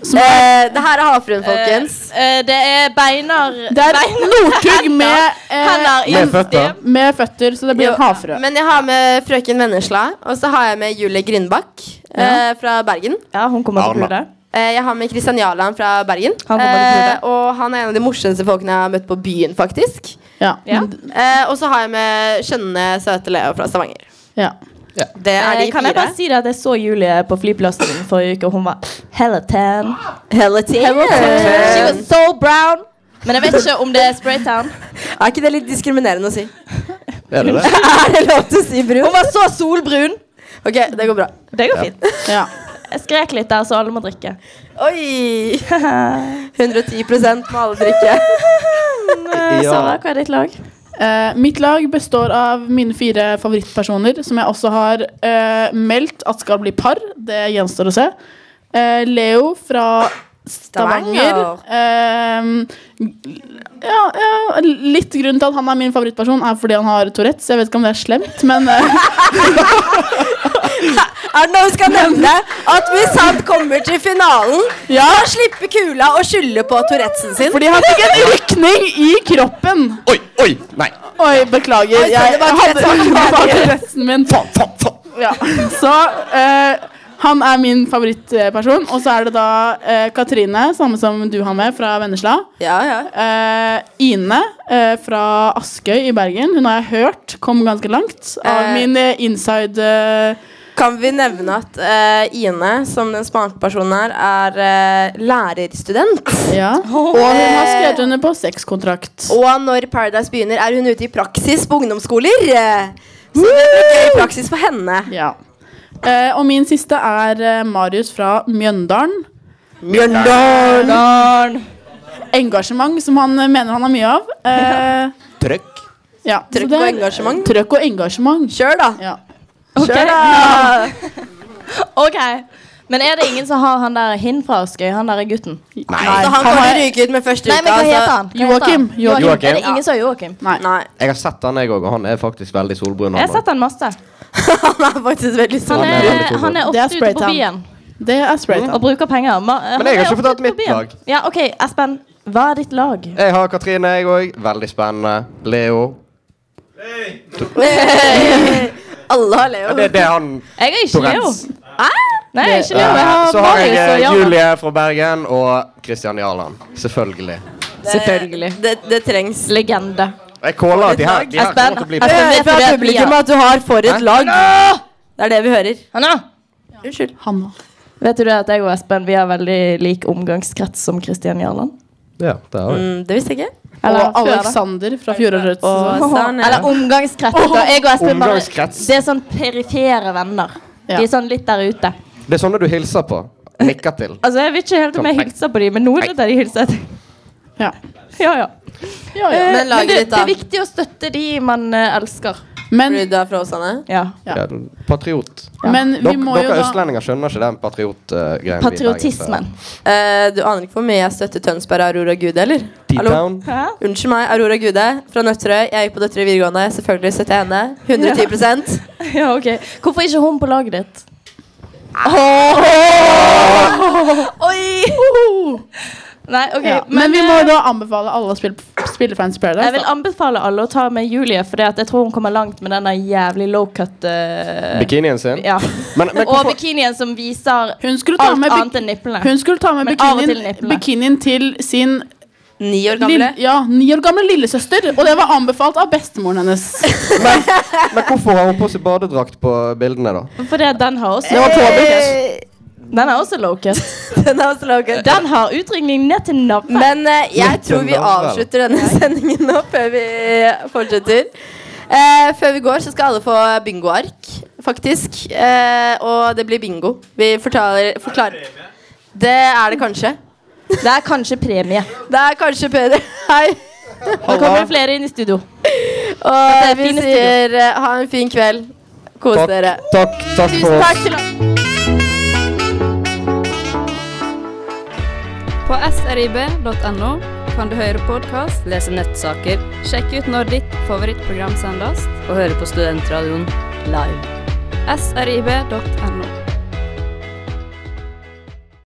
[SPEAKER 1] Eh, det her er havfruen, folkens.
[SPEAKER 2] Eh, eh, det er beinar
[SPEAKER 6] Det er Northug med, eh,
[SPEAKER 2] Hender i
[SPEAKER 12] Med føtter.
[SPEAKER 6] med føtter, så det blir
[SPEAKER 1] Jo,
[SPEAKER 6] et havfrø.
[SPEAKER 1] Men jeg har med frøken Vennesla, og så har jeg med Julie Grindbakk eh, fra Bergen.
[SPEAKER 2] Ja, hun kommer til
[SPEAKER 12] Arna.
[SPEAKER 2] å pule.
[SPEAKER 1] Eh, jeg har med Kristian Jarland fra Bergen.
[SPEAKER 2] Han kommer til å
[SPEAKER 1] eh, og han er en av de morsomste folkene jeg har møtt på byen, faktisk.
[SPEAKER 6] Ja.
[SPEAKER 2] Ja.
[SPEAKER 1] Eh, og så har jeg med skjønne, søte Leo fra Stavanger.
[SPEAKER 6] Ja.
[SPEAKER 1] Det er de
[SPEAKER 2] Eh, kan jeg
[SPEAKER 1] fire.
[SPEAKER 2] bare si det at jeg så Julie på flyplassen forrige uke, og hun var hella tan.
[SPEAKER 1] Hella til.
[SPEAKER 2] She was so brown. Men jeg vet ikke om det er Spraytown.
[SPEAKER 1] Er ikke det litt diskriminerende å si?
[SPEAKER 12] Er det det?
[SPEAKER 1] er det lov til å si brun?
[SPEAKER 2] Hun var så solbrun.
[SPEAKER 1] Ok, det går bra.
[SPEAKER 2] Det går fint.
[SPEAKER 6] Ja.
[SPEAKER 2] Jeg skrek litt der, så alle må drikke.
[SPEAKER 1] Oi! 110 må alle drikke.
[SPEAKER 2] Eh,
[SPEAKER 12] Ja.
[SPEAKER 2] Sara, hva er ditt lag?
[SPEAKER 6] Eh, mitt lag består av mine fire favorittpersoner, som jeg også har eh, meldt at skal bli par. Det gjenstår å se. Eh, Leo fra Stavanger. Eh, ja, ja, litt grunn til at han er min favorittperson, er fordi han har Tourettes. Jeg vet ikke om det er slemt, men eh,
[SPEAKER 1] Er det noe vi skal nevne? At hvis han kommer til finalen,
[SPEAKER 6] Ja.
[SPEAKER 1] da slipper kula å skylde på Tourettesen sin.
[SPEAKER 6] Fordi han fikk en rykning i kroppen.
[SPEAKER 12] Oi, oi, nei.
[SPEAKER 6] Oi,
[SPEAKER 1] Oi,
[SPEAKER 6] beklager.
[SPEAKER 1] sorry,
[SPEAKER 6] Jeg
[SPEAKER 1] det var
[SPEAKER 6] hadde
[SPEAKER 1] Tourettes.
[SPEAKER 6] det var Tourettesen min.
[SPEAKER 12] Faen, faen, faen.
[SPEAKER 6] Ja. Så eh, han er min favorittperson. Og så er det da eh, Katrine, samme som du har med, fra Vennesla.
[SPEAKER 1] Ja, ja.
[SPEAKER 6] Eh, Ine eh, fra Askøy i Bergen. Hun har jeg hørt kom ganske langt av
[SPEAKER 1] Eh.
[SPEAKER 6] min eh, inside eh,
[SPEAKER 1] Kan vi nevne at eh, Ine, som den smarte personen her, er eh, lærerstudent?
[SPEAKER 6] Ja. Og hun har
[SPEAKER 1] Eh.
[SPEAKER 6] skrevet under på sexkontrakt.
[SPEAKER 1] Og når Paradise begynner, er hun ute i praksis på ungdomsskoler. eh, Så det blir gøy praksis for henne.
[SPEAKER 6] Ja. Eh, og min siste er eh, Marius fra Mjøndalen.
[SPEAKER 2] Darn.
[SPEAKER 6] Engasjement, som han eh, mener han har mye av. Eh,
[SPEAKER 12] Trykk.
[SPEAKER 6] ja. så
[SPEAKER 1] Trykk
[SPEAKER 6] det
[SPEAKER 1] og
[SPEAKER 6] er-
[SPEAKER 1] engasjement.
[SPEAKER 6] Trøkk og engasjement.
[SPEAKER 1] Kjør, da.
[SPEAKER 6] Ja.
[SPEAKER 2] Ok.
[SPEAKER 1] Kjør, da.
[SPEAKER 2] Ok. Men er det ingen som har han der hin fra Askøy? Han der er gutten.
[SPEAKER 12] Nei.
[SPEAKER 1] Så han
[SPEAKER 6] han
[SPEAKER 1] kommer
[SPEAKER 6] har-
[SPEAKER 1] til å ryke ut med første
[SPEAKER 2] Nei, men hva
[SPEAKER 1] så-
[SPEAKER 2] heter han? Hva heter han?
[SPEAKER 6] Joakim.
[SPEAKER 12] Altså,
[SPEAKER 6] Joakim.
[SPEAKER 12] Joakim.
[SPEAKER 2] Er det ingen som er Joakim?
[SPEAKER 6] Nei.
[SPEAKER 1] Nei,
[SPEAKER 12] Jeg har sett han, jeg òg, og han er faktisk veldig solbrun.
[SPEAKER 2] Jeg har sett han masse.
[SPEAKER 1] han er faktisk veldig
[SPEAKER 2] Han
[SPEAKER 1] sånn.
[SPEAKER 12] Han er
[SPEAKER 2] er,
[SPEAKER 12] veldig god.
[SPEAKER 2] han er
[SPEAKER 6] Det
[SPEAKER 2] ofte
[SPEAKER 6] er
[SPEAKER 2] ute på
[SPEAKER 6] Spraytown.
[SPEAKER 2] byen
[SPEAKER 6] Det er spraytan.
[SPEAKER 2] og bruker penger. Ma- han
[SPEAKER 12] jeg har
[SPEAKER 2] er
[SPEAKER 12] ikke
[SPEAKER 2] ofte
[SPEAKER 12] fortalt
[SPEAKER 2] ute på
[SPEAKER 12] mitt
[SPEAKER 2] byen.
[SPEAKER 12] lag.
[SPEAKER 2] Ja, ok, Espen. Hva er ditt lag?
[SPEAKER 12] Jeg har Katrine, jeg òg. Veldig spennende. Leo.
[SPEAKER 1] Alle har Leo.
[SPEAKER 12] Det, det er han
[SPEAKER 2] Jeg er ikke Leo.
[SPEAKER 12] Tourettes.
[SPEAKER 2] Hæ?
[SPEAKER 13] Nei, ikke Leo. Jeg
[SPEAKER 4] Eh,
[SPEAKER 13] har
[SPEAKER 4] Så har
[SPEAKER 13] Marius og
[SPEAKER 4] jeg eh,
[SPEAKER 13] Jarle.
[SPEAKER 4] Julie fra Bergen og Christian Jarland. Selvfølgelig.
[SPEAKER 1] Selvfølgelig. Det, det trengs.
[SPEAKER 14] Legende.
[SPEAKER 4] Jeg caller at de her, de her kommer til å bli
[SPEAKER 2] Altså,
[SPEAKER 1] Jeg vet fra publikum at du har for et
[SPEAKER 4] Hæ?
[SPEAKER 1] lag. Det er det vi hører. Unnskyld.
[SPEAKER 2] Vet du det at jeg og Espen vi har veldig lik omgangskrets som Kristian Jarland?
[SPEAKER 4] Ja, det har vi.
[SPEAKER 1] Mm, det visste jeg ikke.
[SPEAKER 2] Eller
[SPEAKER 6] og
[SPEAKER 2] før, da.
[SPEAKER 6] Alexander fra fjorårets
[SPEAKER 2] Og
[SPEAKER 1] sånn, ja.
[SPEAKER 14] Eller omgangskrets. Da. Jeg og Espen bare
[SPEAKER 4] Omgangskrets.
[SPEAKER 14] Det er sånn perifere venner. De er sånn litt der ute.
[SPEAKER 4] Det er sånne du hilser på. Nikker til.
[SPEAKER 2] Altså, Jeg vet ikke helt
[SPEAKER 4] Sånn,
[SPEAKER 2] om jeg hilser på dem, men nå er det der de hilser etter.
[SPEAKER 6] Ja.
[SPEAKER 2] Ja, ja.
[SPEAKER 6] Ja,
[SPEAKER 1] ja.
[SPEAKER 2] Eh,
[SPEAKER 1] Men laget
[SPEAKER 2] det,
[SPEAKER 1] ditt, da?
[SPEAKER 2] det er viktig å støtte de man eh, elsker.
[SPEAKER 1] Fordi du er fra Åsane?
[SPEAKER 2] Ja.
[SPEAKER 4] Ja. Patriot.
[SPEAKER 2] Men vi
[SPEAKER 4] Dere-
[SPEAKER 2] må jo
[SPEAKER 4] dere
[SPEAKER 2] da-
[SPEAKER 4] østlendinger skjønner ikke den patriotgreien.
[SPEAKER 1] Eh, du aner ikke hvor mye jeg støtter Tønsberg og Aurora Gude, eller?
[SPEAKER 4] T-Town.
[SPEAKER 1] Hallo? Unnskyld meg, Aurora Gude fra Nøtterøy. Jeg gikk på Nøtterøy videregående. Selvfølgelig støtter jeg henne. 110
[SPEAKER 2] Ja, ok. Hvorfor ikke hun på laget ditt?
[SPEAKER 14] Oi!
[SPEAKER 2] Nei, ok. eh,
[SPEAKER 6] Ja, men, vi må jo da anbefale alle å spille, spille Friends Paradise.
[SPEAKER 2] Jeg vil
[SPEAKER 6] da.
[SPEAKER 2] anbefale alle å ta med Julie, for jeg tror hun kommer langt med denne jævlig low cut eh,
[SPEAKER 4] Bikinien sin.
[SPEAKER 2] Ja.
[SPEAKER 4] Men, men
[SPEAKER 2] og
[SPEAKER 4] hvorfor
[SPEAKER 2] bikinien som viser
[SPEAKER 6] ta
[SPEAKER 2] alt
[SPEAKER 6] med bik-
[SPEAKER 2] annet enn nipplene.
[SPEAKER 6] Hun skulle ta med
[SPEAKER 2] Men av og til
[SPEAKER 6] bikinien,
[SPEAKER 2] nipplene.
[SPEAKER 6] bikinien til sin
[SPEAKER 1] Ni år
[SPEAKER 6] gamle? Ja, ni år gamle lillesøster. Og det var anbefalt av bestemoren hennes.
[SPEAKER 4] Men hvorfor har hun på seg badedrakt på bildene, da?
[SPEAKER 2] For det, den har også
[SPEAKER 4] Det var påbudt.
[SPEAKER 2] Den er også low cut.
[SPEAKER 1] den, er også low cut.
[SPEAKER 2] den har utringning ned til navlen.
[SPEAKER 1] Men eh, jeg
[SPEAKER 2] Ned til
[SPEAKER 1] tror vi
[SPEAKER 2] navlen.
[SPEAKER 1] avslutter denne sendingen nå før vi fortsetter. Eh, før vi går, så skal alle få bingoark, faktisk. Eh, og det blir bingo. Vi fortaler, forklarer Det er det kanskje.
[SPEAKER 2] Det er kanskje premie.
[SPEAKER 1] Det er kanskje Peder. Hei.
[SPEAKER 2] Nå kommer det flere inn i studio.
[SPEAKER 1] Og vi
[SPEAKER 2] fine
[SPEAKER 1] sier eh, ha en fin kveld. Kos
[SPEAKER 4] Takk,
[SPEAKER 1] dere.
[SPEAKER 4] takk, takk for
[SPEAKER 1] Tusen
[SPEAKER 4] oss.
[SPEAKER 1] takk til
[SPEAKER 8] På srib.no kan du høre podkast, lese nettsaker, sjekke ut når ditt favorittprogram sendes, og høre på Studentradioen live. srib.no.